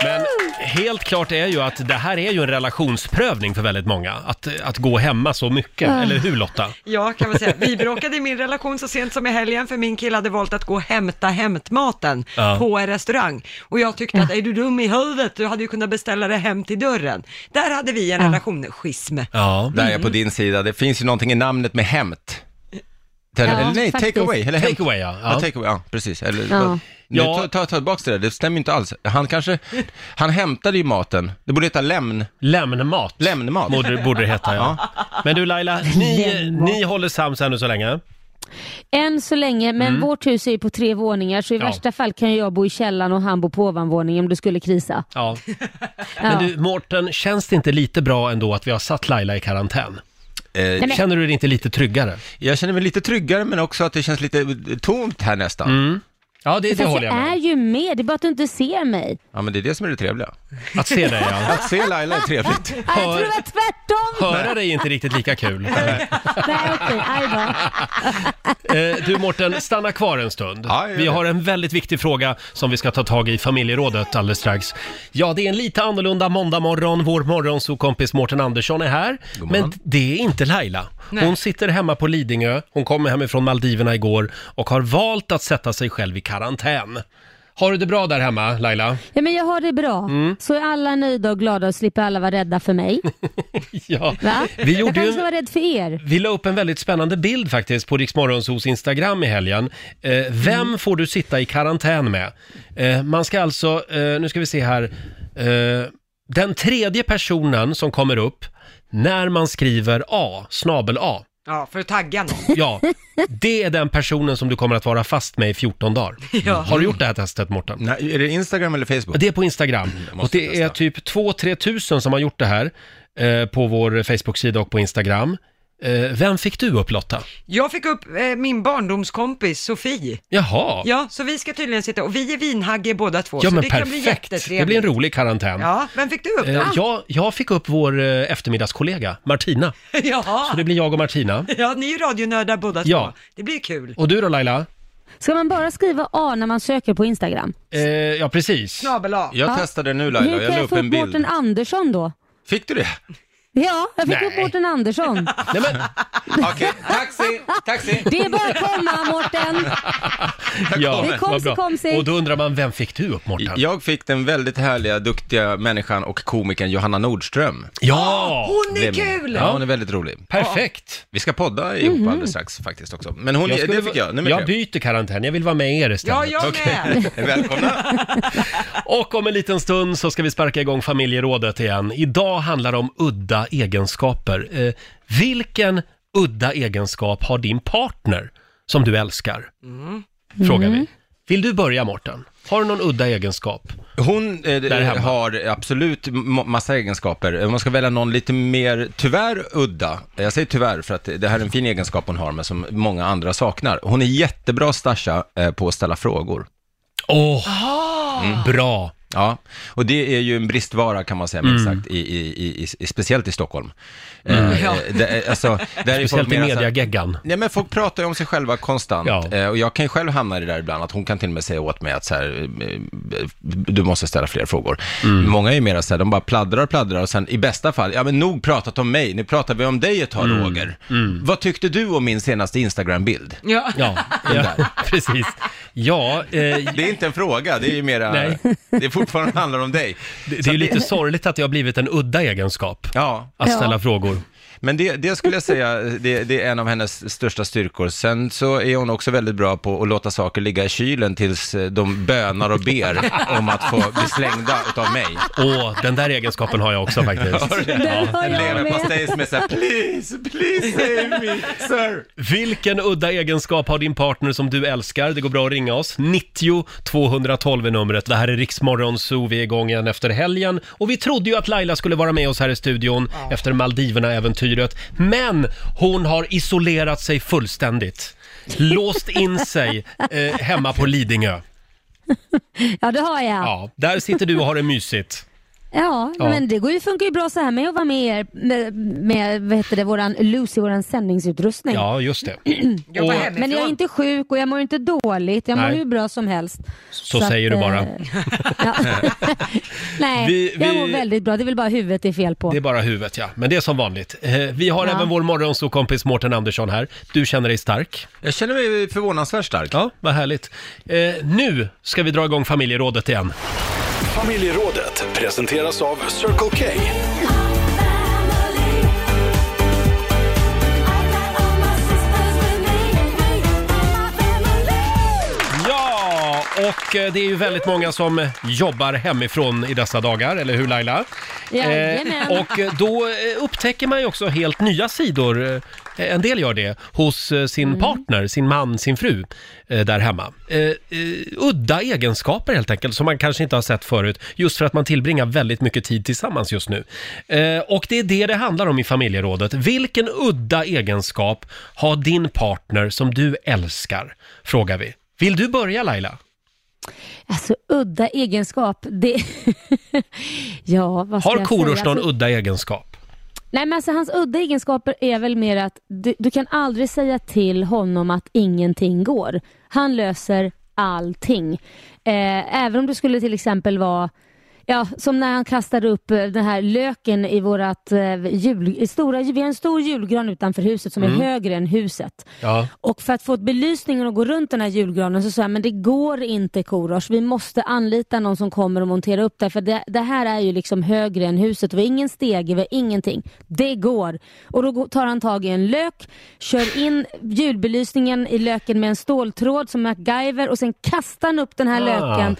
S1: Men helt klart är ju att det här är ju en relationsprövning för väldigt många. Att, att gå hemma så mycket, eller hur Lotta?
S2: Ja, kan man säga. Vi bråkade i min relation så sent som i helgen för min kille hade valt att gå och hämta hämtmaten
S1: Ja.
S2: på en restaurang. Och jag tyckte att, är du dum i huvudet? Du hade ju kunnat beställa det hem till dörren. Där hade vi en relation, schism.
S1: Ja.
S8: Där är
S5: Mm.
S8: jag på din sida. Det finns ju någonting i namnet med hämt. Eller
S5: Ja,
S8: nej,
S5: faktiskt.
S8: take away. Eller hämt.
S1: Take away, ja.
S8: Ja,
S1: ja.
S8: take away, ja precis. Eller,
S5: Ja.
S8: Nu,
S1: Ja.
S8: ta, ta, ta tillbaka det där, det stämmer ju inte alls. Han kanske, han hämtade ju maten. Det borde heta lämn,
S1: Lämnmat.
S8: lämnmat.
S1: Borde, borde det heta, ja. Men du Laila, ni, ni håller sams ännu så länge?
S5: Än så länge, men vårt hus är ju på tre våningar så i
S1: Mm. Ja.
S5: värsta fall kan ju jag bo i källaren och han bo på ovanvåningen om det skulle krisa.
S1: Ja.
S5: Ja.
S1: Men du, Mårten, känns det inte lite bra ändå att vi har satt Laila i karantän?
S8: Eh,
S5: men-
S1: Känner du dig inte lite tryggare?
S8: Jag känner mig lite tryggare men också att det känns lite eh, tomt här nästan.
S1: Mm. Ja, det, det
S5: Fast
S1: håller jag
S5: jag är
S1: med
S5: ju med, det är bara att du inte ser mig.
S8: Ja men det är det som är det trevliga.
S1: Att se dig, ja.
S8: Att se Laila är trevligt.
S5: Ah, jag
S1: Hör-
S5: tror det var tvärtom!
S1: Höra dig är inte riktigt lika kul.
S5: Nej okej, aj då.
S1: Eh, du Mårten, stanna kvar en stund.
S8: Ja, gör
S1: vi
S8: det.
S1: har en väldigt viktig fråga som vi ska ta tag i i familjerådet alldeles strax. Ja, det är en lite annorlunda måndagmorgon. Vår morgonsokompis Mårten Andersson är här.
S8: God
S1: Men
S8: morgon.
S1: det är inte Laila. Hon sitter hemma på Lidingö. Hon kom hemifrån Maldiverna igår och har valt att sätta sig själv i karantän. Har du det bra där hemma, Laila?
S5: Ja, men jag har det bra.
S1: Mm.
S5: Så är alla nöjda och glada och slipper alla vara rädda för mig.
S1: Ja.
S5: Va?
S1: *laughs* Vi
S5: jag
S1: gjorde
S5: kanske
S1: ju
S5: ska
S1: en...
S5: vara rädd för er.
S1: Vi la upp en väldigt spännande bild faktiskt på Riksmorgonsos Instagram i helgen. Eh, vem får du sitta i karantän med? Eh, man ska alltså, eh, nu ska vi se här, eh, den tredje personen som kommer upp när man skriver A, snabel A,
S2: Ja, för att tagga någon.
S1: ja, det är den personen som du kommer att vara fast med i 14
S8: *laughs*
S1: dagar.
S2: Ja.
S1: Har du gjort det här testet Mårten?
S8: Nej, är det Instagram eller Facebook?
S1: Det är på Instagram.
S8: jag
S1: Och
S8: måste
S1: det
S8: testa.
S1: är typ 2-3 tusen som har gjort det här eh, på vår Facebook-sida och på Instagram. Eh, vem fick du upp Lotta?
S2: Jag fick upp eh, min barndomskompis Sofie.
S1: Jaha.
S2: Ja, så vi ska tydligen sitta, och vi är vinhagge båda två,
S1: Ja
S2: så
S1: men
S2: det kan bli
S1: perfekt,
S2: jättetrevligt.
S1: det blir en rolig karantän.
S2: Ja, vem fick du upp
S1: Eh,
S2: då?
S1: Jag, jag fick upp vår eh, eftermiddagskollega Martina, så
S2: *laughs* Jaha,
S1: det blir jag och Martina.
S2: ja, ni är ju radionördar båda
S1: Ja.
S2: två. Det blir kul.
S1: Och du då Laila?
S5: Ska man bara skriva A när man söker på Instagram?
S1: Eh, ja precis.
S2: Snabel A.
S8: Jag
S5: Ja.
S8: testade nu
S5: Hur
S8: Laila, jag
S5: kan
S8: la
S5: jag
S8: upp
S5: få upp
S8: en
S5: Mårten
S8: bild.
S5: Andersson då?
S8: Fick du det?
S5: Ja, jag fick
S1: Nej.
S5: upp Mårten
S1: *laughs*
S5: Andersson.
S1: Nej,
S2: *laughs*
S1: men,
S8: Okej, taxi, taxi.
S5: Det är bara att komma Mårten.
S1: ja,
S5: Det är
S1: vad
S5: komsi,
S1: bra.
S5: komsi.
S1: Och då undrar man, vem fick du upp Mårten?
S8: Jag fick den väldigt härliga, duktiga människan och komikern Johanna Nordström.
S1: Ja,
S2: Hon
S8: Det
S2: är
S8: min-
S2: kul!
S8: Ja, hon är väldigt rolig.
S1: perfekt!
S8: Vi ska podda ihop alldeles strax faktiskt också. Men hon,
S1: skulle
S8: det
S1: va-
S8: fick jag, nummer
S1: jag
S8: tre.
S1: byter karantän, jag vill vara med er
S2: Ja,
S1: istället.
S2: jag
S8: *laughs*
S2: med!
S8: Välkomna.
S1: Och om en liten stund så ska vi sparka igång familjerådet igen. Idag handlar det om udda egenskaper. Eh, vilken udda egenskap har din partner som du älskar? Frågar vi. Vill du börja Morten? Har du någon udda egenskap?
S8: Hon eh,
S1: hemma.
S8: har absolut ma- massa egenskaper. Om man ska välja någon lite mer, tyvärr, udda. Jag säger tyvärr för att det här är en fin egenskap hon har, men som många andra saknar. Hon är jättebra Stasha eh, på att ställa frågor.
S1: Åh,
S8: Mm.
S1: bra!
S8: Ja, och det är ju en bristvara kan man säga, minst
S1: Mm.
S8: sagt, i, i, i, i, i, speciellt i Stockholm. Eh,
S2: Ja.
S8: det, alltså, där är folk
S1: Speciellt i
S8: mer så här-
S1: mediageggan.
S8: Nej men folk pratar ju om sig själva konstant
S1: Ja.
S8: eh, och jag kan ju själv hamna i det där ibland att hon kan till och med säga åt mig att så här, eh, du måste ställa fler frågor.
S1: Mm.
S8: Många är ju mera så här, de bara pladdrar och pladdrar och sen i bästa fall, ja men nog pratat om mig, nu pratar vi om dig ett tag
S1: Mm.
S8: Roger. Vad tyckte du om min senaste Instagram-bild?
S2: Ja.
S1: Ja,
S8: *laughs*
S1: ja *laughs* precis. Ja, eh,
S8: Det är inte en fråga, det är ju mera,
S1: Nej.
S8: det är fortfarande handlar om dig.
S1: det, det
S8: Så
S1: är ju
S8: att
S1: lite sorgligt att det har blivit en udda egenskap
S8: Ja,
S1: att
S5: Ja.
S1: ställa frågor.
S8: Men det, det skulle jag säga, det, det är en av hennes största styrkor. Sen så är hon också väldigt bra på att låta saker ligga i kylen tills eh, de bönar och ber om att få bli slängda utav mig.
S1: Åh, den där egenskapen har jag också
S8: *laughs*
S1: faktiskt.
S5: Den har
S8: En
S5: jag med.
S8: leverpastej som är såhär, please, please save me, sir.
S1: Vilken udda egenskap har din partner som du älskar? Det går bra att ringa oss. 90 212 är numret. Det här är Riksmorgon Zoo. Vi är igång igen efter helgen. Och vi trodde ju att Laila skulle vara med oss här i studion efter Maldiverna-äventyret. Men hon har isolerat sig fullständigt. Låst in sig eh, hemma på Lidingö.
S5: Ja, det har jag. Ja,
S1: Ja, där sitter du och har det mysigt. Ja.
S5: men det går ju, funkar ju bra så här med att vara med er med, med vad heter det, våran Lucy, våran sändningsutrustning.
S1: Ja, just det.
S2: Jobba
S1: Och
S2: hemifrån.
S5: Men *clears throat* jag är inte sjuk och jag mår inte dåligt. Jag mår
S1: Nej.
S5: hur bra som helst.
S1: så säger du
S5: eh,
S1: bara. *laughs*
S5: ja. Nej,
S1: Vi-
S5: jag
S1: vi-
S5: mår väldigt bra. Det är väl bara huvudet det är fel på.
S1: Det är bara huvudet, ja. Men det är som vanligt. Eh, vi har
S5: Ja.
S1: även vår morgonsåkompis Mårten Andersson här. Du känner dig stark.
S8: Jag känner mig förvånansvärt stark.
S1: Ja, vad härligt. Eh, nu ska vi dra igång familjerådet igen.
S9: Familjerådet presenteras av Circle K.
S1: Ja, och eh, det är ju väldigt många som jobbar hemifrån i dessa dagar, eller hur Laila?
S5: Jajamän.
S1: och eh, då eh, upptäcker man ju också helt nya sidor, eh, en del gör det, hos eh, sin
S5: Mm.
S1: partner, sin man, sin fru eh, där hemma. Eh, eh, udda egenskaper helt enkelt, som man kanske inte har sett förut, just för att man tillbringar väldigt mycket tid tillsammans just nu. Eh, och det är det det handlar om i familjerådet. Vilken udda egenskap har din partner som du älskar? Frågar vi. Vill du börja Laila?
S5: Alltså udda egenskap. Det... *laughs* ja, vad ska
S1: Har
S5: jag
S1: Korosh
S5: säga?
S1: någon
S5: Alltså,
S1: udda egenskap?
S5: Nej, men alltså hans udda egenskaper är väl mer att du, du kan aldrig säga till honom att ingenting går. Han löser allting. Eh, även om du skulle till exempel vara Ja, som när han kastade upp eh, den här löken i vårat eh, jul... i Stora, vi har en stor julgran utanför huset som är högre än huset.
S1: Mm. Ja.
S5: Och för att få belysningen att gå runt den här julgranen så sa jag, men det går inte Korosh. Vi måste anlita någon som kommer och monterar upp det. För det, det här är ju liksom högre än huset. Vi har ingen stege, vi har ingenting. Det går. Och då går- tar han tag i en lök, kör in julbelysningen i löken med en ståltråd som MacGyver och sen kastar han upp den här
S1: Ah.
S5: löken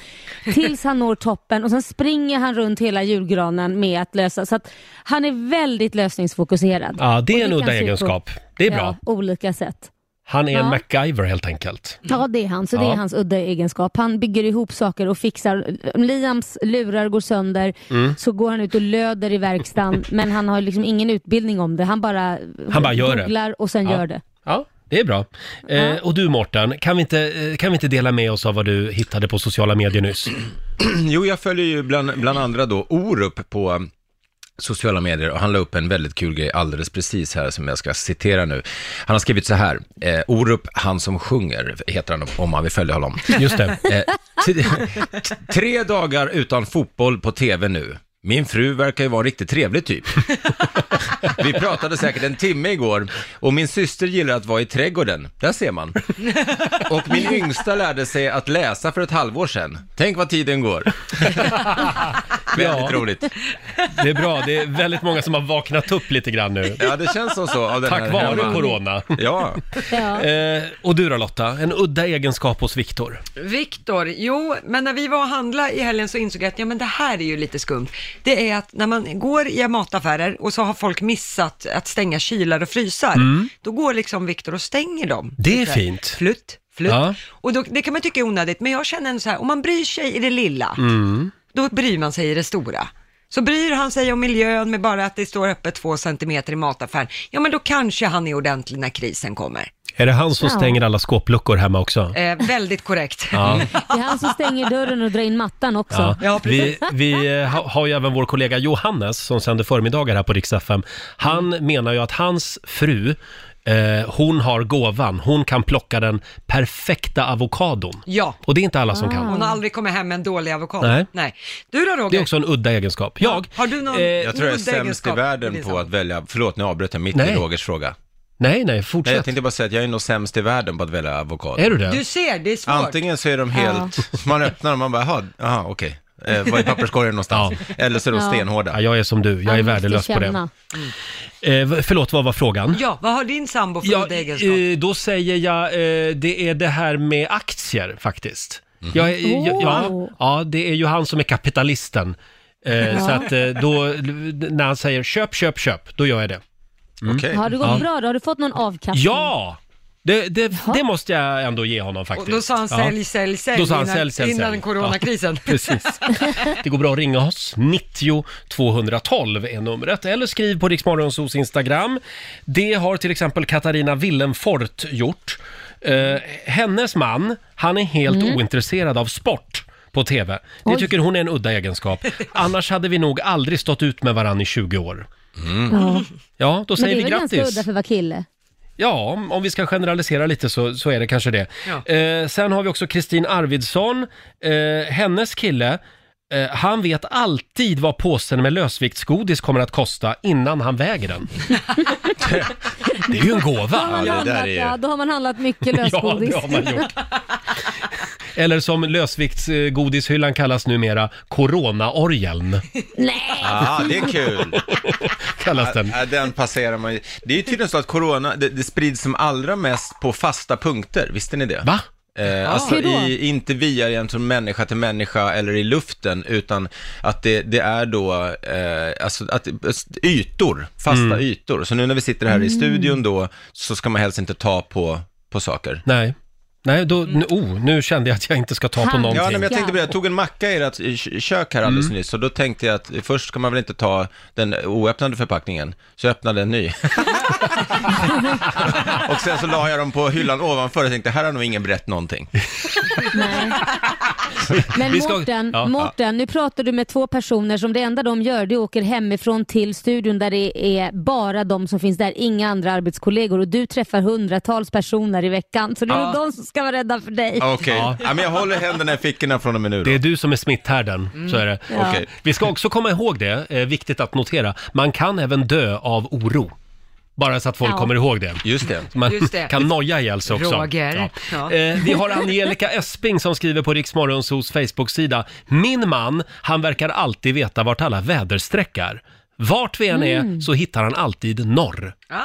S5: tills han når toppen och sen springer han runt hela julgranen med att lösa. Så att han är väldigt lösningsfokuserad.
S1: Ja, det är
S5: Och
S1: en
S5: kan
S1: udda
S5: se på-
S1: egenskap. Det är
S5: ja,
S1: bra.
S5: Olika sätt.
S1: Han är en
S5: Ja.
S1: MacGyver helt enkelt.
S5: Ja, det är han. Så det
S1: Ja.
S5: är hans udda egenskap. Han bygger ihop saker och fixar. Om Liams lurar går sönder
S1: Mm.
S5: så går han ut och löder
S1: *laughs*
S5: i verkstaden men han har liksom ingen utbildning om det. Han bara,
S1: Han bara gör det.
S5: googlar och sen
S1: Ja.
S5: gör det.
S1: Ja, det är bra. Eh,
S5: Ja.
S1: och du Mårten, kan, vi inte, eh, kan vi inte dela med oss av vad du hittade på sociala medier nyss?
S8: *clears throat* Jo, jag följer ju bland, bland andra då Orup på um, sociala medier och han la upp en väldigt kul grej alldeles precis här som jag ska citera nu. Han har skrivit så här, eh, Orup, han som sjunger, heter han om man vill följa honom.
S1: Just det.
S8: Eh, t- t- *laughs* tre dagar utan fotboll på tv nu. Min fru verkar ju vara en riktigt trevlig typ. *laughs* Vi pratade säkert en timme igår och min syster gillar att vara i trädgården. Där ser man.
S1: *laughs*
S8: Och min yngsta lärde sig att läsa för ett halvår sedan. Tänk vad
S1: *laughs*
S8: tiden går. Väldigt roligt.
S1: Det är bra. Det är väldigt många som har vaknat upp lite grann nu.
S8: Ja, det känns som så. Av den här
S1: Tack vare
S8: hemma.
S1: corona.
S8: Ja.
S5: Ja.
S1: Eh, och du då Lotta, en udda egenskap hos Viktor.
S2: Viktor, jo, men när vi var och handlade i helgen så insåg jag att ja, men det här är ju lite skumt. Det är att när man går i mataffärer och så har folk missat att stänga kylar och frysar, då går liksom Viktor och stänger dem.
S1: Det är
S2: Lite så här,
S1: fint.
S2: Flutt, flutt.
S1: Ja.
S2: Och då, det kan man tycka är onödigt, men jag känner ändå så här, om man bryr sig i det lilla,
S1: Mm.
S2: då bryr man sig i det stora. Så bryr han sig om miljön med bara att det står öppet två centimeter i mataffären, ja men då kanske han är ordentlig när krisen kommer.
S1: Är det han som
S5: Ja.
S1: stänger alla skåpluckor hemma också? *laughs*
S2: Eh, väldigt korrekt.
S1: Ja.
S5: Det är han som stänger dörren och drar in mattan också.
S1: Ja.
S2: Ja,
S1: vi
S2: precis.
S1: vi eh, ha- har ju även vår kollega Johannes som sänder förmiddagar här på Rix FM. Han
S2: Mm.
S1: menar ju att hans fru, eh, hon har gåvan. Hon kan plocka den perfekta avokadon.
S2: Ja. Ah.
S1: Och det är inte alla som kan.
S2: Hon har aldrig kommit hem med en dålig avokado.
S1: Nej.
S2: Du då
S1: Det
S2: Roger?
S1: är också en udda egenskap. Jag?
S2: Har du någon-
S1: eh,
S8: Jag tror jag är
S2: Udda
S8: sämst i
S2: egenskap. Det är
S8: världen
S2: sant.
S8: på att välja, förlåt nu avbröt jag mitt
S1: Nej.
S8: i Rogers fråga.
S1: nej, nej,
S8: Nej, jag
S1: fortsätt.
S8: tänkte bara säga att jag är nog sämst i världen på att välja avokado.
S1: Är du det?
S2: Du ser, det är svårt.
S8: *laughs* Antingen så är de helt, man öppnar dem och man bara, jaha, jaha, okej. eh,
S5: *laughs*
S8: var är papperskorgen någonstans? Eller så är de
S5: Ja.
S1: Ja,
S8: stenhårda.
S1: jag är som du, jag är
S5: Man måste
S1: värdelös på det.
S5: känna.
S1: Eh, v- förlåt, vad var frågan?
S2: Ja, vad har din sambo för
S1: Ja,
S2: goda egenskap?
S1: eh, då säger jag, eh, det är det här med aktier faktiskt.
S2: Mhm.
S1: Jag, är- jag, ja,
S5: Oh.
S1: ja, det är ju han som är kapitalisten. Eh, Så att eh, då, när han säger köp, köp, köp, då gör jag det.
S8: Okej.
S5: Mm. Har det gått
S1: Ja.
S5: bra då? Har du fått någon avkastning?
S1: Ja! Det, det, det måste jag ändå ge honom
S2: Och
S1: faktiskt.
S2: då sa han
S1: Ja.
S2: sälj, sälj, sälj
S1: Då sa han
S2: innan,
S1: sälj, sälj,
S2: innan
S1: sälj.
S2: coronakrisen.
S5: *laughs*
S1: Precis. Det går bra att ringa oss. 90 212 är numret. Eller skriv på Riksmorgonsos Instagram. Det har till exempel Katarina Willenfort gjort. Eh, hennes man, han är helt
S5: Mm.
S1: ointresserad av sport på TV. Det tycker hon är en udda
S5: *laughs*
S1: egenskap. Annars hade vi nog aldrig stått ut med varann i 20 år.
S5: Mm. Ja.
S1: Ja, då
S5: Men det
S1: säger
S5: är
S1: vi
S5: väl ganska
S1: grattis.
S5: udda för att vara kille?
S1: Ja, om, om vi ska generalisera lite så, så är det kanske det.
S2: Ja.
S1: Eh, sen har vi också Kristin Arvidsson. Eh, hennes kille, eh, han vet alltid vad påsen med lösviktsgodis kommer att kosta innan han väger
S8: *laughs*
S1: den. det är ju en
S5: Då har
S1: gåva.
S5: man,
S8: det där
S5: handlat,
S8: är ju-
S5: ja, då har man handlat
S1: *laughs*
S5: mycket
S1: Ja,
S5: lösgodis.
S1: det har man gjort. Eller som lösviktsgodishyllan kallas numera, Corona-orgeln
S5: *laughs* Nej,
S8: Ah, det är
S5: *laughs*
S8: kul.
S1: kallas den.
S8: Ja, den passerar man ju. Det är ju tydligen så att corona, det, det sprids som allra mest på fasta punkter, visste ni det?
S1: Va?
S8: Eh, alltså
S5: Hur då?
S8: i, inte via egentligen människa till människa eller i luften, utan att det, det är då, eh, alltså att, ytor, fasta
S5: Mm.
S8: ytor. Så nu när vi sitter här i studion då, så ska man helst inte ta på, på saker.
S1: Nej. Nej, då, n- oh, nu kände jag att jag inte ska ta på
S5: Han-
S1: någonting.
S8: Mm. Ja, nej, men jag
S5: Ja.
S8: tänkte på det. Jag tog en macka i ert k- kök här alldeles
S1: Mm.
S8: nyss, och då tänkte jag att först ska man väl inte ta den oöppnade förpackningen, så jag öppnade
S1: *laughs*
S8: en ny. och sen så la jag dem på hyllan ovanför och tänkte, här har nog ingen
S1: *laughs*
S8: berättat någonting.
S5: nej. Men
S1: Vi ska-
S5: Mårten,
S1: Ja.
S5: Mårten, nu pratar du med två personer som det enda de gör det är att åker hemifrån till studion där det är bara de som finns där, inga andra arbetskollegor och du träffar hundratals personer i veckan. Så det är
S2: Ja.
S5: de som ska vara rädda för dig.
S8: Okej, ja.
S1: Ja.
S8: men jag håller händerna i fickorna från och med nu då.
S1: Det är du som är smitthärden, så är det.
S5: Ja.
S8: Okej.
S1: Vi ska också komma ihåg det, eh, viktigt att notera. Man kan även dö av oro. Bara så att folk
S5: Ja.
S1: kommer ihåg det.
S8: Just det.
S1: Man
S2: Just det.
S1: kan noja ihjäl sig också.
S2: Roger. Ja.
S1: Eh, vi har
S2: *laughs*
S1: Angelica Esping som skriver på Riksmorgonsos Facebook-sida. Min man, han verkar alltid veta vart alla väderstreck är. Vart vi än är
S2: Mm.
S1: så hittar han alltid norr.
S2: Ah.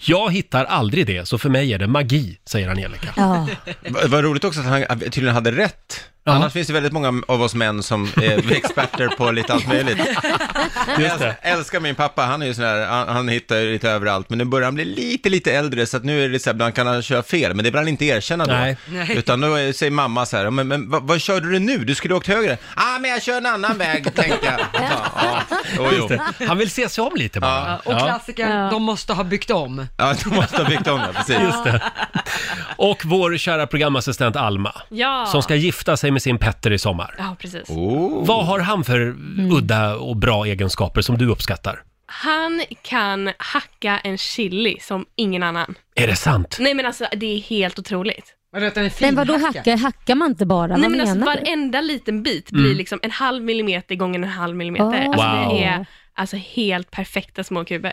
S1: Jag hittar aldrig det, så för mig är det magi, säger Angelica.
S5: Ja.
S8: Va- Vad roligt också att han eh, tydligen hade rätt.
S1: Ja.
S8: Annars finns det väldigt många av oss män som
S1: *laughs*
S8: är experter på lite allt möjligt.
S1: Just
S8: Jag
S1: det.
S8: älskar min pappa, han är ju sån här, han, han hittar ju lite överallt, men nu börjar han bli lite, lite äldre, så att nu är det så här, ibland kan han köra fel, men det vill han inte erkänna då.
S1: Nej.
S2: Nej.
S8: Utan då är- säger mamma så här, men, men vad, vad körde du nu? Du skulle ha åkt höger. Ah, men jag kör en annan väg, tänkte jag. Ja, ja. Jo, jo.
S1: Han vill se sig om lite bara.
S2: Och klassikern,
S5: Ja.
S2: de måste ha byggt om.
S8: Ja, du måste ha byggt om det, precis. Just det.
S1: Och vår kära programassistent Alma,
S10: Ja.
S1: som ska gifta sig med sin Petter i sommar.
S10: Ja, precis.
S8: Oh.
S1: Vad har han för
S10: Mm.
S1: udda och bra egenskaper som du uppskattar?
S10: Han kan hacka en chili som ingen annan.
S1: Är det sant?
S10: Nej men alltså det är helt otroligt.
S2: Var det en fin
S5: Men vadå hacka? Hackar man inte bara?
S10: Nej
S5: Vad
S10: men alltså
S5: menar du?
S10: varenda liten bit blir liksom en halv millimeter gånger en halv millimeter.
S5: Oh.
S10: Alltså
S1: Wow.
S10: det är alltså helt perfekta små kuber.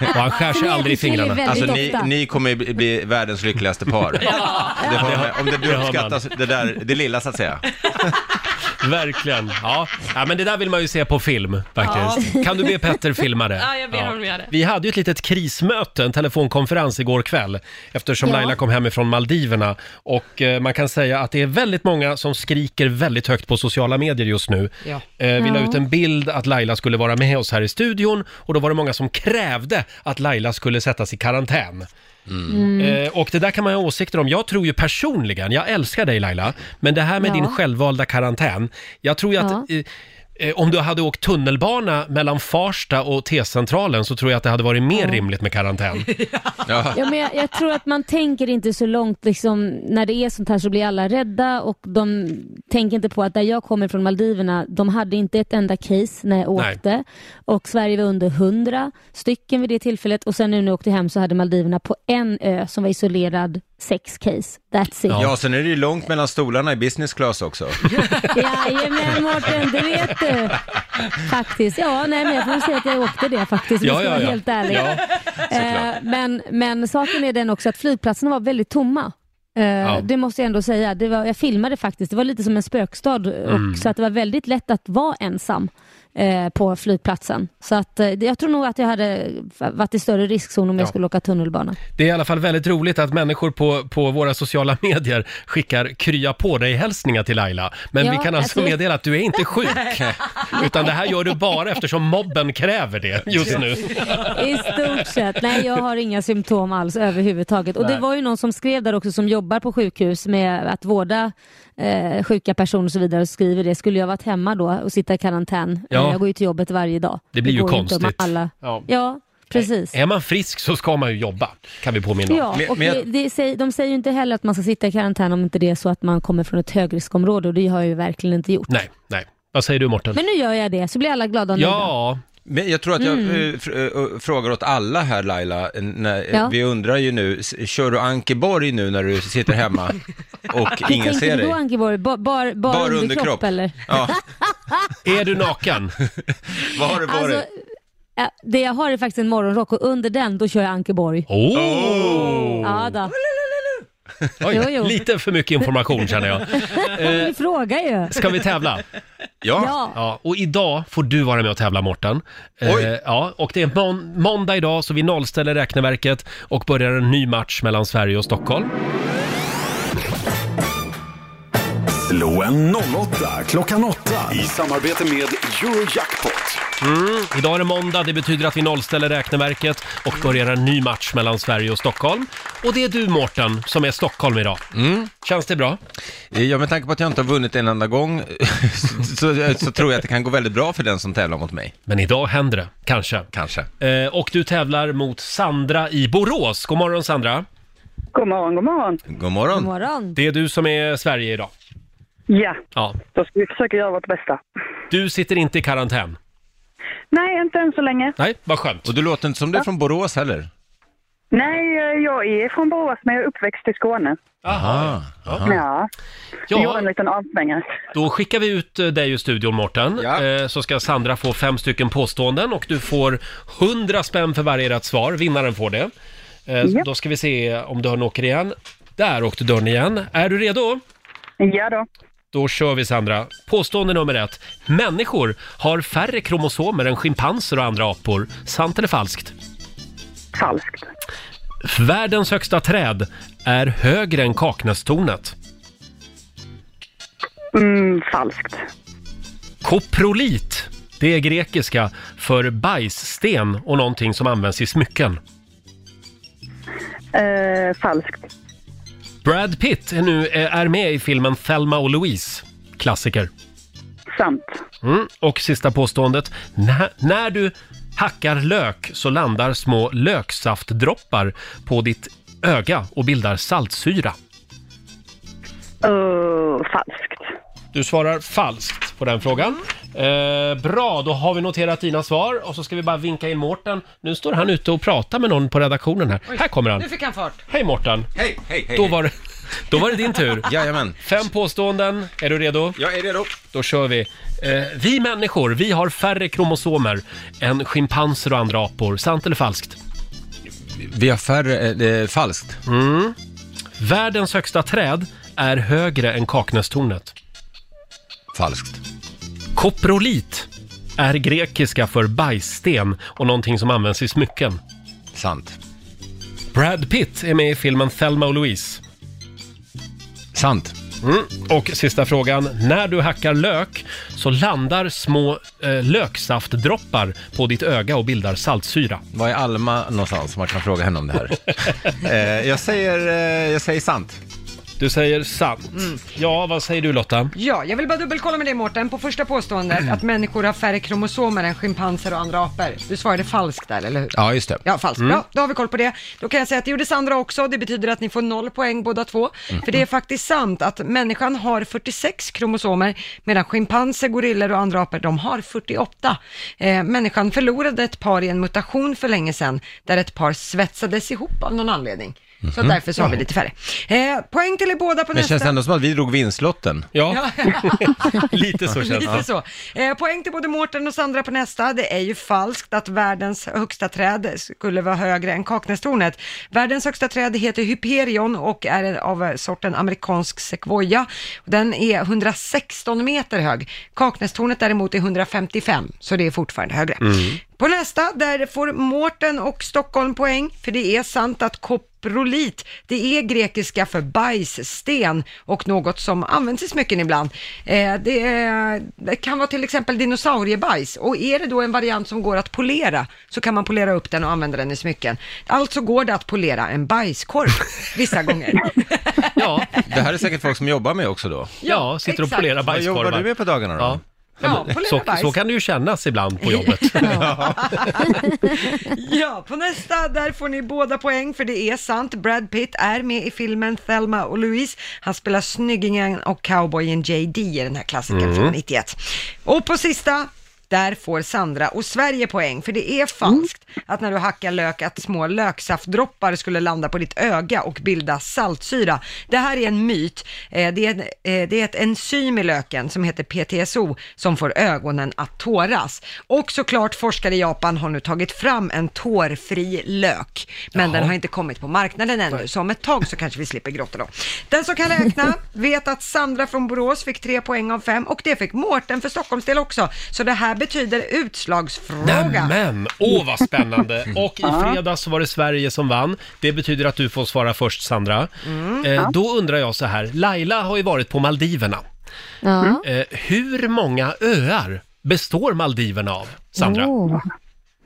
S1: Och han skär sig
S5: Nej,
S1: aldrig i
S5: det skiljer
S1: fingrarna.
S5: väldigt
S8: Alltså ni,
S5: Väldigt ofta.
S8: ni kommer ju bli- bli världens lyckligaste par.
S5: *laughs*
S8: Det har, med- om det du
S1: Det har
S8: uppskattas, det där, det lilla så att säga.
S1: Verkligen. Ja. ja, men det där vill man ju se på film faktiskt. Kan du be Petter filma det?
S10: *laughs* Ja, jag ber honom göra det.
S1: Vi hade ju ett litet krismöte, en telefonkonferens igår kväll eftersom
S5: Ja.
S1: Laila kom hemifrån Maldiverna och eh, man kan säga att det är väldigt många som skriker väldigt högt på sociala medier just nu.
S2: Ja.
S1: Eh, vi la
S10: Mm.
S5: Ja.
S1: ut en bild att Laila skulle vara med oss här i studion och då var det många som krävde att Laila skulle sättas i karantän.
S5: Mm.
S1: Eh, och det där kan man ju ha åsikter om. Jag tror ju personligen, jag älskar dig Laila, men det här med
S5: Ja.
S1: din självvalda karantän, jag tror ju att
S5: Ja.
S1: eh, Eh, Om du hade åkt tunnelbana mellan Farsta och T-centralen så tror jag att det hade varit mer rimligt med
S5: *laughs*
S1: karantän.
S8: Ja.
S5: Ja, men jag, jag tror att man tänker inte så långt, liksom, när det är sånt här så blir alla rädda och de tänker inte på att där jag kommer från Maldiverna, de hade inte ett enda case när jag
S1: Nej.
S5: åkte och Sverige var under 100 stycken vid det tillfället och sen nu när jag åkte hem så hade Maldiverna på en ö som var isolerad sex case. That's it.
S8: Ja, sen är det ju långt mellan stolarna i business class också.
S5: Jajamän Mårten, det vet du. Faktiskt. Ja, nej men jag får väl säga att jag åkte det faktiskt om
S1: Ja,
S5: jag ska
S1: ja,
S5: vara
S1: ja.
S5: helt ärlig.
S1: Ja, *laughs*
S5: Eh, men, men saken är den också att flygplatserna var väldigt tomma. Eh,
S1: Ja.
S5: Det måste jag ändå säga. Det var, jag filmade faktiskt. Det var lite som en spökstad. Och,
S1: Mm.
S5: Så att det var väldigt lätt att vara ensam eh, på flygplatsen. Så att, eh, jag tror nog att jag hade varit i större riskzon om jag skulle åka tunnelbana.
S1: Det är i alla fall väldigt roligt att människor på, på våra sociala *laughs* medier skickar krya på dig-hälsningar till Laila. Men
S5: Ja,
S1: vi kan alltså
S5: alltså-
S1: meddela att du är
S5: *laughs*
S1: inte sjuk, utan det här gör du bara eftersom mobben kräver det just nu.
S5: *laughs* I stort sett. Nej, jag har inga symptom alls överhuvudtaget. Och
S1: Nej.
S5: det var ju någon som skrev där också som jobbar på sjukhus med att vårda eh, sjuka personer och så vidare och skriver det. Skulle jag varit hemma då och sitta i karantän?
S1: Ja.
S5: Eh, Jag går ju till jobbet varje dag.
S1: Det blir ju
S5: går inte om
S1: konstigt.
S5: Alla...
S1: Ja.
S5: Ja. precis.
S1: Är man frisk så ska man ju jobba, kan vi påminna om.
S5: Ja, och det, det säger, de säger ju inte heller att man ska sitta i karantän om inte det är så att man kommer från ett högriskområde och det har jag ju verkligen inte gjort.
S1: Nej, nej. Vad säger du Morten?
S5: Men nu gör jag det, så blir alla glada och nöjda.
S8: Men jag tror att jag
S5: Mm.
S8: eh, fr- eh, frågar åt alla här Laila, eh, när, eh,
S5: Ja.
S8: vi undrar ju nu, s- kör du Ankeborg nu när du sitter hemma och
S5: *laughs* Hur
S8: ingen
S5: tänkte
S8: ser
S5: du
S8: dig?
S5: då Ankeborg? Bar, bar, bar,
S8: Bar
S5: underkropp,
S8: underkropp.
S5: eller?
S8: Ja.
S1: Är du
S5: *laughs*
S1: naken?
S8: Vad har du på
S5: Alltså,
S8: dig?
S5: ja, det jag har är faktiskt en morgonrock och under den då kör jag Ankeborg.
S1: Oh!
S5: Ja, då.
S1: Eh. Oj,
S5: Jo, jo.
S1: lite för mycket information känner jag. Eh,
S5: Ni frågar ju.
S1: ska vi tävla?
S5: Ja.
S1: Och idag får du vara med och tävla Morten. Eh,
S8: Oj.
S1: ja, och det är mån- måndag idag så vi nollställer räkneverket och börjar en ny match mellan Sverige och Stockholm.
S3: Slå en 08 klockan 8
S9: I samarbete med Eurojackpot.
S1: Mm. Idag är det måndag, det betyder att vi nollställer räkneverket och börjar en ny match mellan Sverige och Stockholm. Och det är du Morten som är Stockholm idag. Känns det bra?
S8: Ja, med tanke på att jag inte har vunnit en enda gång *laughs* så, så, så tror jag att det kan gå väldigt bra för den som tävlar mot mig.
S1: Men idag händer det, kanske.
S8: Kanske.
S1: Eh, och du tävlar mot Sandra i Borås. God morgon Sandra!
S11: God morgon, god morgon.
S8: God
S5: God
S8: morgon.
S5: morgon.
S1: Det är du som är Sverige idag.
S11: Ja,
S1: Ja.
S11: då ska vi försöka göra vårt bästa.
S1: Du sitter inte i karantän.
S11: Nej, inte än så länge.
S1: Nej, vad skönt.
S8: Och du låter inte som du är från Borås heller.
S11: Nej, eh, jag är från Borås men jag är uppväxt i Skåne.
S8: Aha.
S11: Ja,
S8: Aha.
S11: jag gjorde
S1: Ja,
S11: en liten avsvängare.
S1: då skickar vi ut eh, dig ur studion Mårten.
S8: Ja.
S1: Eh, så ska Sandra få fem stycken påståenden och du får 100 spänn för varje rätt svar. Vinnaren får det. Eh,
S11: Ja.
S1: Då ska vi se om dörren åker igen. Där åkte dörren igen. Är du redo?
S11: Ja då.
S1: Då kör vi Sandra. Påstående nummer ett. Människor har färre kromosomer än schimpanser och andra apor. Sant eller falskt?
S11: Falskt.
S1: Världens högsta träd är högre än Kaknästornet.
S11: Mm, falskt.
S1: Koprolit, det är grekiska för bajssten och någonting som används i smycken.
S11: Eh, falskt.
S1: Brad Pitt är nu eh, är med i filmen Thelma och Louise. Klassiker.
S11: Sant.
S1: Mm. Och sista påståendet. Nä- när du hackar lök så landar små löksaftdroppar på ditt öga och bildar saltsyra.
S11: Eh, falskt.
S1: Du svarar falskt på den frågan. Eh, bra, då har vi noterat dina svar och så ska vi bara vinka in Mårten. Nu står han ute och pratar med någon på redaktionen här. Här kommer han.
S2: Nu fick han fart.
S1: Hej Mårten!
S8: Hej, hej, hej.
S1: Då var, det, då var det din tur.
S8: Jajamän.
S1: Fem påståenden. Är du redo?
S8: Jag är redo.
S1: Då kör vi. Eh, vi människor, vi har färre kromosomer än schimpanser och andra apor. Sant eller falskt?
S8: Vi har färre, eh, eh, falskt.
S1: Mm. Världens högsta träd är högre än Kaknästornet.
S8: Falskt.
S1: Koprolit är grekiska för bajssten och någonting som används i smycken.
S8: Sant.
S1: Brad Pitt är med i filmen Thelma och Louise.
S8: Sant.
S1: Mm. Och sista frågan. När du hackar lök så landar små eh, löksaftdroppar på ditt öga och bildar saltsyra.
S8: Var är Alma någonstans? Man kan fråga henne om
S1: *laughs*
S8: det här. eh, jag, säger, eh, jag säger sant.
S1: Du säger sant.
S2: Mm.
S1: Ja, vad säger du Lotta?
S2: Ja, jag vill bara dubbelkolla med dig Mårten på första
S5: Mm.
S2: påståendet att människor har färre kromosomer än schimpanser och andra apor. Du svarade falskt där, eller hur?
S8: Ja, just det.
S2: Ja, falskt.
S8: Mm.
S2: Bra, då har vi koll på det. Då kan jag säga att det gjorde Sandra också. Det betyder att ni får noll poäng båda två.
S8: Mm.
S2: För det är faktiskt sant att människan har 46 kromosomer, medan schimpanser, gorillor och andra apor, de har 48. Eh, människan förlorade ett par i en mutation för länge sedan, där ett par svetsades ihop av någon anledning. Så därför så har vi lite färre. Eh, poäng till er båda på
S8: Men
S2: nästa.
S8: känns Mhm. det ändå som att vi drog vinstlotten?
S1: Ja, *laughs* lite så känns
S2: Lite så. Eh, poäng till både Mårten och Sandra på nästa. Det är ju falskt att världens högsta träd skulle vara högre än Kaknästornet. Världens högsta träd heter Hyperion och är av sorten amerikansk sekvoja. Den är 116 meter hög. Kaknästornet däremot är 155, så det är fortfarande högre. På nästa, där får Mårten och Stockholm poäng, för det är sant att koprolit, det är grekiska för bajssten och något som används i smycken ibland. Eh, det, är, det kan vara till exempel dinosauriebajs och är det då en variant som går att polera så kan man polera upp den och använda den i smycken. Alltså går det att polera en bajskorv vissa gånger.
S1: ja.
S8: Det här är säkert folk som jobbar med också då.
S1: Ja, sitter och
S2: exakt.
S1: polerar
S8: Vad
S1: bajskorvar.
S8: jobbar du med på dagarna då?
S1: Ja.
S2: Ja,
S1: men
S2: polera
S1: så,
S2: bajs.
S1: så kan det ju kännas ibland på jobbet.
S2: Ja, på nästa, där får ni båda poäng för det är sant. Brad Pitt är med i filmen Thelma och Louise. Han spelar snyggingen och cowboyen JD i den här klassikern
S12: Mm.
S2: från 91. Och på sista, där får Sandra och Sverige poäng, för det är falskt att när du hackar lök att små löksaftdroppar skulle landa på ditt öga och bilda saltsyra. Det här är en myt. Eh, Det är, en- eh, det är ett enzym i löken som heter PTSO som får ögonen att tåras. Och såklart forskare i Japan har nu tagit fram en tårfri lök, men
S12: Jaha.
S2: den har inte kommit på marknaden ännu, så om ett tag så kanske vi slipper grotta då. Den som kan räkna vet att Sandra från Borås fick tre poäng av fem och det fick Mårten för Stockholms del också, så det här betyder utslagsfråga.
S1: Men, åh vad
S5: *laughs*
S1: spännande! Och i
S2: Ja.
S1: fredags var det Sverige som vann. Det betyder att du får svara först, Sandra.
S5: Mm.
S1: Eh,
S5: Ja.
S1: då undrar jag så här, Laila har ju varit på Maldiverna.
S5: Ja.
S1: Eh, hur många öar består Maldiverna av, Sandra?
S5: Åh.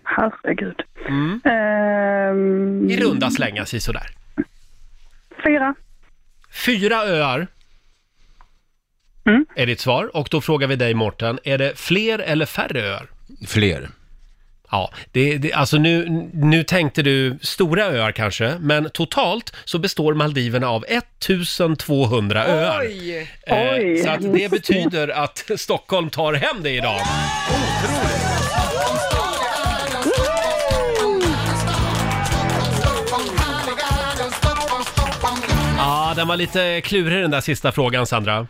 S11: Herregud.
S1: Mm.
S11: Ehm,
S1: I runda slängar, si sådär.
S11: Fyra.
S1: Fyra öar är ditt svar. Och då frågar vi dig, Mårten, är det fler eller färre öar?
S8: Fler.
S1: Ja, det, det, alltså nu, nu tänkte du stora öar kanske, men totalt så består Maldiverna av 1200 öar.
S2: Oj!
S1: Eh,
S2: Oj.
S1: Så att det betyder att *laughs* Stockholm tar hem det idag. Ja, den var lite klurig den där sista frågan, Sandra.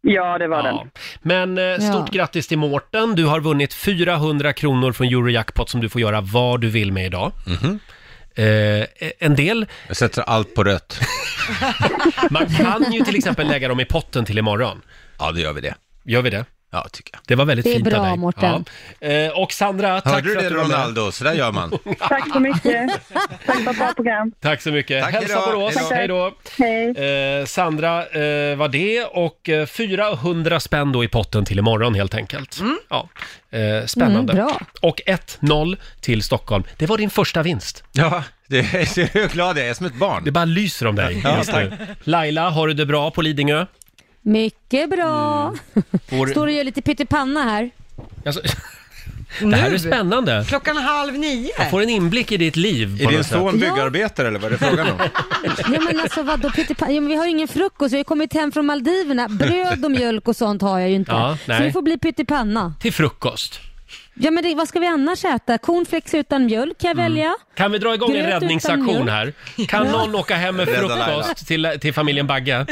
S11: Ja, det var den.
S1: Men eh, stort
S11: Ja.
S1: grattis till Mårten. Du har vunnit 400 kronor från Eurojackpot som du får göra vad du vill med idag. Eh, en del...
S8: Jag sätter allt på rött.
S1: Man kan ju till exempel lägga dem i potten till imorgon.
S8: Ja, då gör vi det.
S1: Gör vi det?
S8: Ja, tycker jag.
S1: Det var väldigt
S8: Det är
S1: fint
S8: bra,
S1: av dig.
S8: Mårten.
S1: Ja. Eh, och Sandra, tack
S8: Hörde du
S1: för
S8: det
S1: att du var med.
S8: Ronaldo? Så där gör man.
S1: *laughs*
S11: Tack så mycket. Tack för ett bra program.
S1: Tack så mycket.
S11: Tack,
S1: Hälsa
S11: hejdå.
S1: Borås.
S11: Tack, tack.
S1: Hej då. Eh, Sandra eh, var det och eh, 400 spänn då i potten till imorgon helt enkelt. Ja. Eh, spännande.
S8: Mm, bra.
S1: Och 1-0 till Stockholm. Det var din första vinst.
S8: Ja, *laughs* det är jag är glad jag är, som ett barn.
S1: Det bara lyser om dig
S8: Ja,
S1: just
S8: tack.
S1: nu. Laila, har du det bra på Lidingö?
S5: Mycket bra.
S1: Mm. Får-
S5: Står och gör lite pyttipanna här.
S1: Alltså, *laughs* det här
S8: Mm.
S1: är spännande.
S2: Klockan halv nio.
S1: Jag får en inblick i ditt liv.
S8: Är din son byggarbetare eller vad är det frågan om?
S5: Ja men alltså vadå pyttipanna? Ja, men vi har ju ingen frukost, jag har ju kommit hem från Maldiverna. Bröd och mjölk och sånt har jag ju inte.
S1: Ja, nej.
S5: så det får bli pyttipanna.
S1: Till frukost.
S5: Ja men det, vad ska vi annars äta? Cornflakes utan mjölk kan jag
S1: Mm.
S5: välja.
S1: Kan vi dra igång
S5: Gröt
S1: en
S5: utan
S1: räddningsaktion
S5: mjölk.
S1: här? Kan
S5: Ja.
S1: någon åka hem med
S8: Rädda Laila.
S1: frukost till, till familjen Bagge?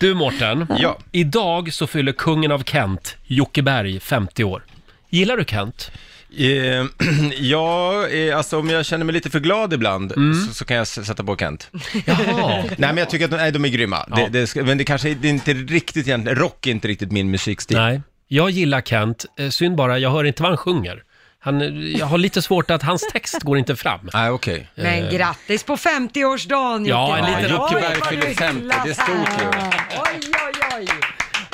S1: Du Mårten,
S8: Ja.
S1: idag så fyller kungen av Kent, Jocke Berg, 50 år. Gillar du Kent?
S8: Eh, *clears throat* ja, eh, alltså om jag känner mig lite för glad ibland så, så kan jag s- sätta på Kent.
S1: Jaha.
S8: Nej men jag tycker att de, nej, de är grymma. Det, det, ska- men det kanske är- det är inte riktigt egentligen, rock är inte riktigt min musikstil.
S1: Nej, jag gillar Kent. Eh, Synd bara, jag hör inte vad han sjunger. Han, eh, jag har lite svårt att hans text går inte fram.
S8: Nej, okej.
S2: Men grattis på 50-årsdagen
S1: Eh.
S2: Jocke
S1: Ja, en
S2: Berg.
S1: liten
S2: Oj,
S1: Jocke Berg
S2: vad du
S1: fyller 50, det är
S2: hyllas
S1: stort ju.
S2: här. Oj, oj, oj.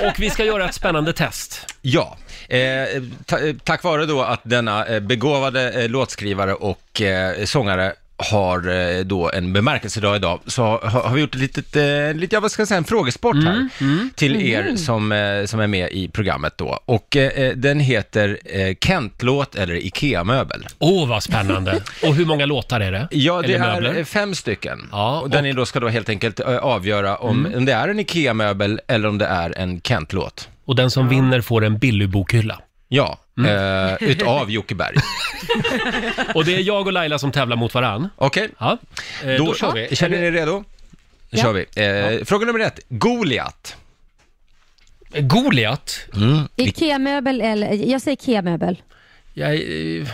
S1: Och vi ska göra ett spännande test.
S8: Ja, eh, ta, eh, tack vare då att denna eh, begåvade eh, låtskrivare och eh, sångare har eh, då en bemärkelsedag idag, så har, har vi gjort ett litet, eh, lite, ja, vad ska jag säga, en frågesport här till er
S1: Mhm.
S8: som, eh, som är med i programmet då. Och eh, eh, den heter eh, Kent-låt eller IKEA-möbel.
S1: Åh, vad spännande. Och hur många låtar är det?
S8: Ja, det
S1: Eller
S8: är
S1: möbler?
S8: eh, fem stycken.
S1: Ja,
S8: och den är då ska då helt enkelt eh, avgöra om, om det är en IKEA-möbel eller om det är en Kent-låt.
S1: Och den som vinner får en Billy-bokhylla.
S8: Ja, eh, utav Jocke *laughs* Berg.
S1: Och det är jag och Laila som tävlar mot varann.
S8: Okej.
S1: Ja. Eh,
S8: Då kör vi. Känner ni er redo? Nu kör vi. Eh, Fråga nummer ett. Goliat.
S1: Goliat?
S8: Mm.
S5: Ikea-möbel eller, jag säger Ikea-möbel.
S1: Jag... eh,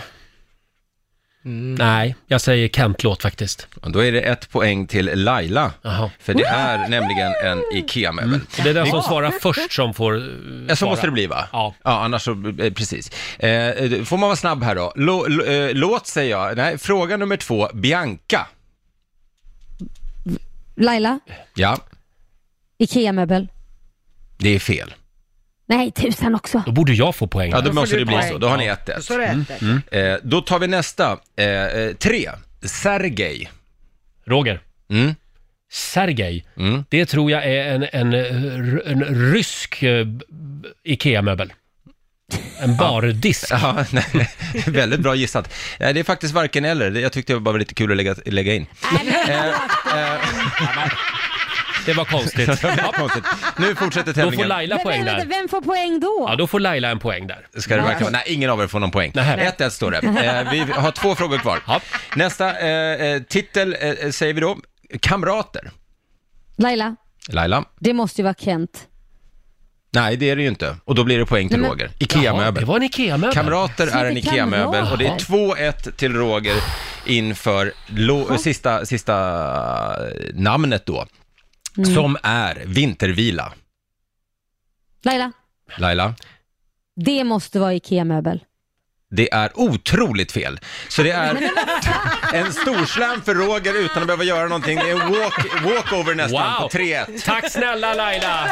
S8: Mm.
S1: Nej, jag säger Kent-låt faktiskt.
S8: Och Då är det ett poäng till Laila. För det är nämligen en IKEA-möbel.
S1: Det är den som svarar först som får eh,
S8: Ja, så
S1: svara.
S8: måste det bli va? Ja. annars så, eh, precis. Eh, får man vara snabb här då? Lå- l- eh, låt säger jag. Nej, fråga nummer två, Bianca.
S5: Laila,
S8: Ja,
S5: Ikea-möbel.
S8: det är fel.
S5: Nej, tusan också.
S1: Då borde jag få poäng.
S8: Ja, då
S5: Då får
S8: måste
S5: du
S8: det bli
S5: poäng.
S8: så. Då har ni
S5: Ja.
S8: ett, ett.
S5: Så är det ett,
S8: Mm. Eh, Då tar vi nästa. Eh, eh, tre, Sergej.
S1: Roger.
S8: Mm.
S1: Sergej. Det tror jag är en, en, eh, r- en rysk eh, b- IKEA-möbel. En bardisk.
S8: Ja, *laughs* nej, väldigt bra gissat. Eh, Det är faktiskt varken eller. Det- Jag tyckte det var lite kul att lägga, lägga in. *laughs*
S1: Det var
S8: *laughs*
S1: konstigt.
S8: Det var konstigt. Nu fortsätter
S1: Då
S8: tävlingen.
S1: får Laila
S5: Men
S1: poäng
S5: vänta,
S1: där.
S5: Vem får poäng då?
S1: Ja, då får Laila en poäng där.
S8: Ska det verkligen vara? Nej, ingen av er får någon poäng. 1-1 står det. Eh, vi har två frågor kvar. Nästa eh, eh, titel eh, eh, säger vi då. Kamrater.
S5: Laila,
S8: Laila?
S5: det måste ju vara Kent.
S8: Nej, det är det ju inte. Och då blir det poäng till
S5: Nej, men-
S8: Roger.
S1: Mm. Jaha,
S8: Ikea-möbel.
S1: det var en Ikea-möbel.
S8: Kamrater
S1: Så det
S8: är en
S1: kan
S8: Ikea-möbel
S1: vara.
S8: och det är 2-1 till Roger inför lo- sista, sista eh, namnet då.
S5: Mm.
S8: Som är vintervila.
S5: Laila,
S8: Laila?
S5: det måste vara Ikea-möbel.
S8: Det är otroligt fel. Så
S1: *laughs*
S8: det är en storslam för Roger utan att behöva göra någonting. Det är en walk, walkover nästan
S1: Wow.
S8: på 3-1.
S1: Tack snälla Laila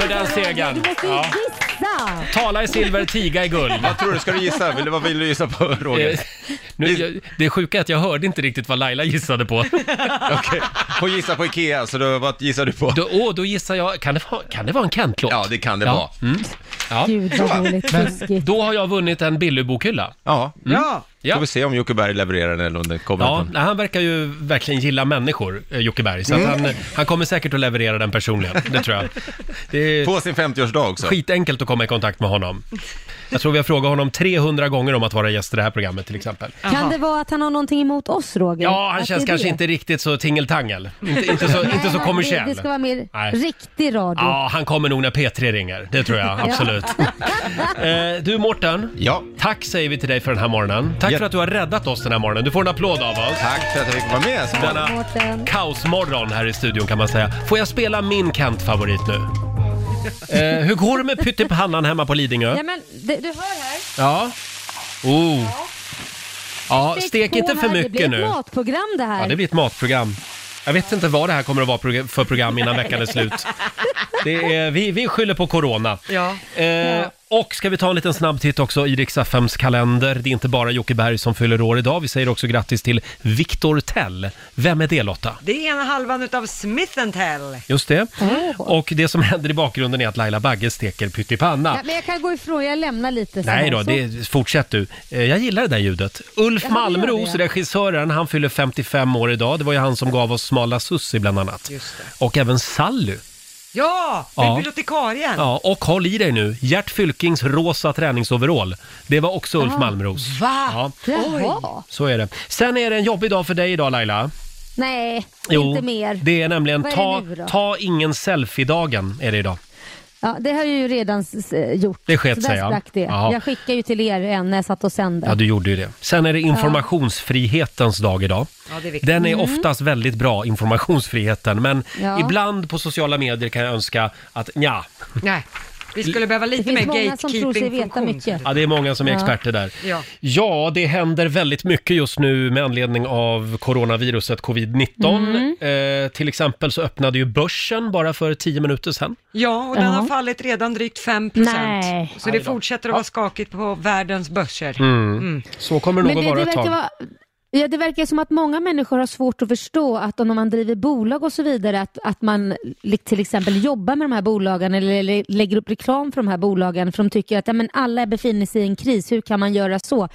S1: för den segern. Ja.
S5: Gissa!
S1: Tala i silver, tiga i guld.
S8: Vad tror du, ska du gissa? Vill, du- vad vill du gissa på Roger?
S1: Eh, Nu, jag, det är sjuka är att jag hörde inte riktigt vad Laila gissade på.
S8: Okej, hon gissar på Ikea, så då, vad gissar du på?
S1: Då, åh, då gissar jag, kan det, vara- kan det vara en Kent-låt?
S8: Ja, det kan det
S1: Ja. Mm.
S8: vara.
S1: Ja.
S5: Gud vad roligt,
S1: Men
S5: taskigt.
S1: då har jag vunnit en Billy-bokhylla.
S8: Ja,
S1: Mm.
S2: Ja.
S1: Ja.
S8: får vi se om Jocke Berg levererar den eller om den kommer
S1: Ja,
S8: från...
S1: nej, han verkar ju verkligen gilla människor, eh, Jocke Berg. Så att
S8: Mm.
S1: han, han kommer säkert att leverera den personligen, det tror jag. Det är
S8: På sin 50-årsdag också.
S1: skitenkelt att komma i kontakt med honom. Jag tror vi har frågat honom 300 gånger om att vara gäst i det här programmet till exempel.
S5: Kan det vara att han har någonting emot oss, Roger?
S1: Ja, han
S5: Att det
S1: känns
S5: är
S1: kanske
S5: det?
S1: inte riktigt så tingeltangel. Inte, inte så,
S5: Nej,
S1: inte så
S5: nej,
S1: kommersiell.
S5: Det, det ska vara mer
S1: Nej.
S5: riktig radio.
S1: Ja, han kommer nog när P3 ringer. Det tror jag,
S5: *laughs* Ja.
S1: absolut. eh, du Mårten,
S8: Ja.
S1: tack säger vi till dig för den här morgonen. Tack
S8: Ja.
S1: för att du har räddat oss den här morgonen. Du får en applåd av oss.
S8: Tack för att jag fick vara med. som vanligt.
S1: Denna
S5: Mårten.
S1: kaosmorgon här i studion kan man säga. Får jag spela min Kent-favorit
S5: *laughs*
S1: nu? Eh, hur går det med pyttipannan hemma på Lidingö?
S5: Ja, men, det, du hör här.
S1: Ja. Oh. Ja, stek
S5: på
S1: inte för
S5: här. Det blir
S1: mycket
S5: ett
S1: nu.
S5: matprogram det här.
S1: Ja, det blir ett matprogram. Jag vet inte vad det här kommer att vara program- för program innan veckan är slut. Det är, vi, vi skyller på corona.
S2: Ja.
S1: Eh, Och ska vi ta en liten snabb titt också i riks kalender. Det är inte bara Jocke Berg som fyller år idag. Vi säger också grattis till Viktor Tell. Vem är det Lotta?
S2: Det är ena halvan utav Smith Tell.
S1: Just det. Och det som händer i bakgrunden är att Laila Bagge steker pyttipanna.
S5: Ja, men jag kan gå ifrån, jag lämnar lite. så
S1: Nej
S5: här,
S1: då,
S5: så.
S1: det, fortsätt du. Eh, Jag gillar det där ljudet. Ulf
S5: Ja, han gör
S1: Malmros,
S5: det.
S1: regissören, han fyller 55 år idag. Det var ju han som gav oss Smala Sussi bland annat. Och även Sally.
S2: Ja,
S1: Ja.
S2: bibliotekarien.
S1: Ja, och håll i dig nu. Gert Fylkings rosa träningsoverall. Det var också
S5: Ah,
S1: Ulf Malmros.
S2: Va?
S1: Ja,
S5: Jaha.
S1: så är det. Sen är det en jobbig dag för dig idag Laila.
S5: Nej, inte mer.
S1: det är nämligen
S5: Vad är
S1: ta,
S5: det nu då?
S1: ta ingen selfie-dagen är det idag.
S5: Ja, det har jag ju redan s- eh, gjort.
S1: Det sket
S5: så där
S1: sig, ja.
S5: sprack det.
S1: Ja.
S5: Jag skickar ju till er en när jag satt och sände.
S1: Ja, du gjorde ju det. Sen är det informationsfrihetens dag idag.
S2: Ja, det är viktigt.
S1: Den är oftast väldigt bra, informationsfriheten, men
S5: Ja.
S1: ibland på sociala medier kan jag önska att ja,
S2: Nej, vi skulle behöva
S5: Det
S2: lite mer
S5: finns många som tror sig veta
S2: gatekeeping-funktion.
S5: mycket.
S1: ja det är många som är
S5: Ja.
S1: experter där.
S2: Ja.
S1: Ja, det händer väldigt mycket just nu med anledning av coronaviruset covid-19. Eh, till exempel så öppnade ju börsen bara för tio minuter sedan.
S2: ja, och den har
S5: Ja.
S2: fallit redan drygt 5 procent.
S5: Nej.
S2: Så det fortsätter att vara skakigt på världens börser.
S1: Mm. Så kommer det nog
S5: Men
S1: att
S5: det,
S1: vara
S5: det
S1: ett tag.
S5: verkar vara Ja, det verkar som att många människor har svårt att förstå att om man driver bolag och så vidare, att, att man li- till exempel jobbar med de här bolagen eller, eller lägger upp reklam för de här bolagen, för de tycker att ja, men alla befinner sig i en kris, hur kan man göra så?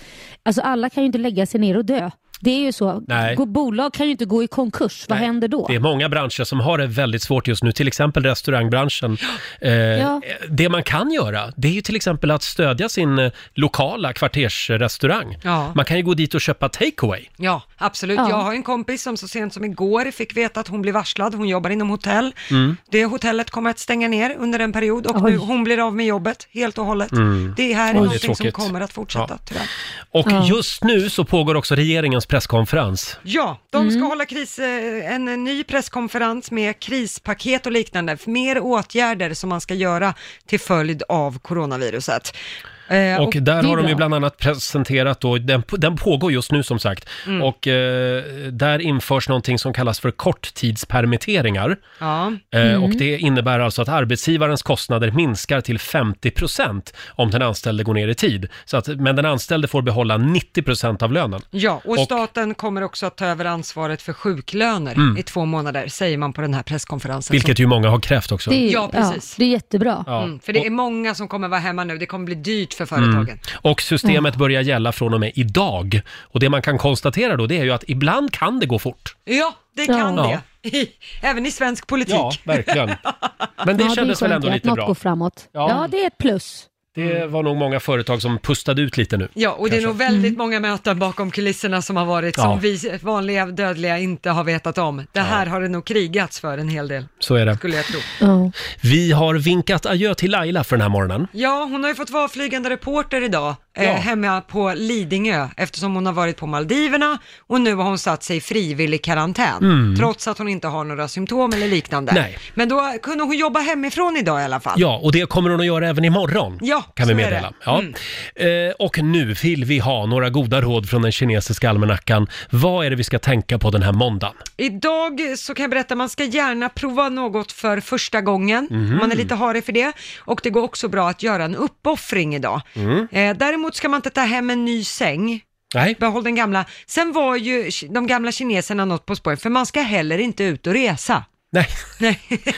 S5: Alltså alla kan ju inte lägga sig ner och dö. Det är ju så.
S1: Nej.
S5: Gå- Bolag kan ju inte gå i konkurs, vad händer då?
S1: Det är många branscher som har det väldigt svårt just nu, till exempel restaurangbranschen. Eh,
S5: Ja.
S1: Det man kan göra, det är ju till exempel att stödja sin eh, lokala kvartersrestaurang.
S2: Ja.
S1: Man kan ju gå dit och köpa takeaway.
S2: Ja, absolut.
S1: Ja.
S2: Jag har en kompis som så sent som igår fick veta att hon blir varslad. Hon jobbar inom hotell.
S1: Mm.
S2: Det hotellet kommer att stänga ner under en period och
S1: Oj.
S2: nu, hon blir av med jobbet helt och hållet.
S1: Mm.
S2: Det här
S1: Oj.
S2: är någonting
S1: Det är
S2: som
S1: tråkigt.
S2: kommer att fortsätta tyvärr.
S1: Och
S2: Ja.
S1: just nu så pågår också regeringens presskonferens.
S2: Ja, de
S1: Mm.
S2: ska hålla kris, eh, en en ny presskonferens med krispaket och liknande. Mer åtgärder som man ska göra till följd av coronaviruset. Eh,
S1: Och där
S2: det är
S1: har de ju
S2: bra.
S1: bland annat presenterat då, den, den pågår just nu som sagt,
S2: Mm.
S1: och eh, där införs någonting som kallas för korttidspermitteringar.
S2: Ja.
S1: Eh, Och
S5: Mm.
S1: det innebär alltså att arbetsgivarens kostnader minskar till 50% om den anställde går ner i tid. Så att, men den anställde får behålla 90% av lönen.
S5: Mm.
S2: Ja, och,
S1: Och-
S2: staten kommer också att ta över ansvaret för sjuklöner
S1: Mm.
S2: i två månader, säger man på den här presskonferensen.
S1: Vilket ju många har krävt också.
S5: Det är,
S2: Ja, precis.
S5: det är jättebra.
S1: Ja.
S2: Mm, för det är många som kommer vara hemma nu, det kommer bli dyrt för
S1: Mm.
S2: företagen.
S1: Och systemet börjar gälla från och med idag. Och det man kan konstatera då, det är ju att ibland kan det gå fort.
S2: Ja, det kan
S1: Ja.
S2: det. *laughs* Även i svensk politik.
S1: Ja, verkligen. Typ. *laughs* Men det
S5: Ja,
S1: kändes
S5: är
S1: väl
S5: skönt
S1: ändå
S5: att
S1: lite
S5: något
S1: bra.
S5: Går framåt.
S1: Ja.
S5: Ja. det är ett plus.
S1: Det var nog många företag som pustade ut lite nu.
S2: Ja, och det är nog väldigt många möten bakom kulisserna som har varit,
S1: Ja.
S2: som vi vanliga dödliga inte har vetat om. Det här har det nog krigats för en hel del,
S1: Så är det.
S2: skulle jag tro.
S1: Vi har vinkat adjö till Laila för den här morgonen.
S2: Ja, hon har ju fått vara flygande reporter idag,
S1: Ja.
S2: eh, hemma på Lidingö, eftersom hon har varit på Maldiverna och nu har hon satt sig i frivillig karantän,
S1: Mm.
S2: trots att hon inte har några symptom eller liknande.
S1: Nej.
S2: Men då kunde hon jobba hemifrån idag i alla fall.
S1: Ja, och det kommer hon att göra även imorgon.
S2: Ja,
S1: kan
S2: så
S1: vi
S2: är det. Mm.
S1: meddela. Ja. Eh, och nu vill vi ha några goda råd från den kinesiska almanackan. Vad är det vi ska tänka på den här måndagen?
S2: Idag så kan jag berätta, man ska gärna prova något för första gången,
S1: Mhm.
S2: om man är lite harig för det. Och det går också bra att göra en uppoffring idag.
S1: Mm.
S2: Eh, däremot ska man inte ta hem en ny säng.
S1: Nej.
S2: Behåll den gamla. Sen var ju ki- de gamla kineserna något på spåren, för man ska heller inte ut och resa.
S1: Nej.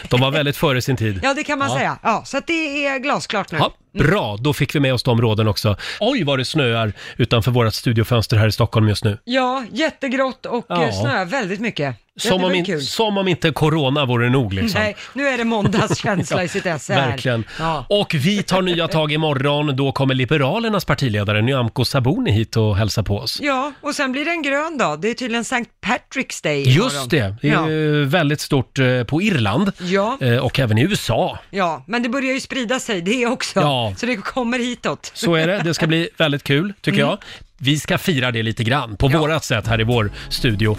S1: De var väldigt före sin tid.
S2: *laughs* Ja, det kan man säga. Ja, så att det är glasklart nu.
S1: Ja, bra, då fick vi med oss de råden också. Oj, vad det snöar utanför vårt studiofönster här i Stockholm just nu.
S2: Ja, jättegrått och
S1: Ja.
S2: ja. snö väldigt mycket. Ja,
S1: Som,
S2: det var
S1: om,
S2: ju
S1: in,
S2: kul.
S1: som om inte corona vore nog liksom.
S2: Nej, nu är det måndagskänsla i sitt esse
S1: *laughs*
S2: här.
S1: Verkligen. Och vi tar nya tag imorgon. Då kommer Liberalernas partiledare Nyamko Sabuni hit och hälsa på oss.
S2: Ja, och sen blir det en grön dag. Det är tydligen St. Patrick's Day imorgon.
S1: Just det, det är
S2: ja.
S1: ju väldigt stort eh, på Irland
S2: Ja.
S1: Eh, och även i USA.
S2: ja, men det börjar ju sprida sig det också.
S1: Ja.
S2: Så det kommer hitåt.
S1: Så är det, det ska bli väldigt kul tycker
S2: Mm.
S1: jag. Vi ska fira det lite grann på vårat sätt här i vår studio.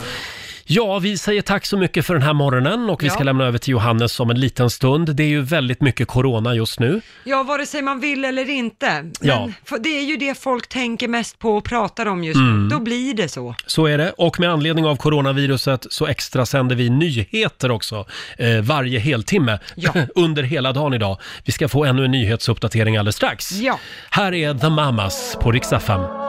S1: Ja, vi säger tack så mycket för den här morgonen och vi
S2: Ja.
S1: ska lämna över till Johannes om en liten stund. Det är ju väldigt mycket corona just nu.
S2: Ja, vare sig man vill eller inte. Men
S1: Ja.
S2: för det är ju det folk tänker mest på och pratar om just
S1: Mm.
S2: nu. Då blir det så.
S1: Så är det. Och med anledning av coronaviruset så extra sänder vi nyheter också eh, varje heltimme *clears throat* under hela dagen idag. Vi ska få ännu en nyhetsuppdatering alldeles strax.
S2: Ja.
S1: Här är The Mamas på Riksaffären.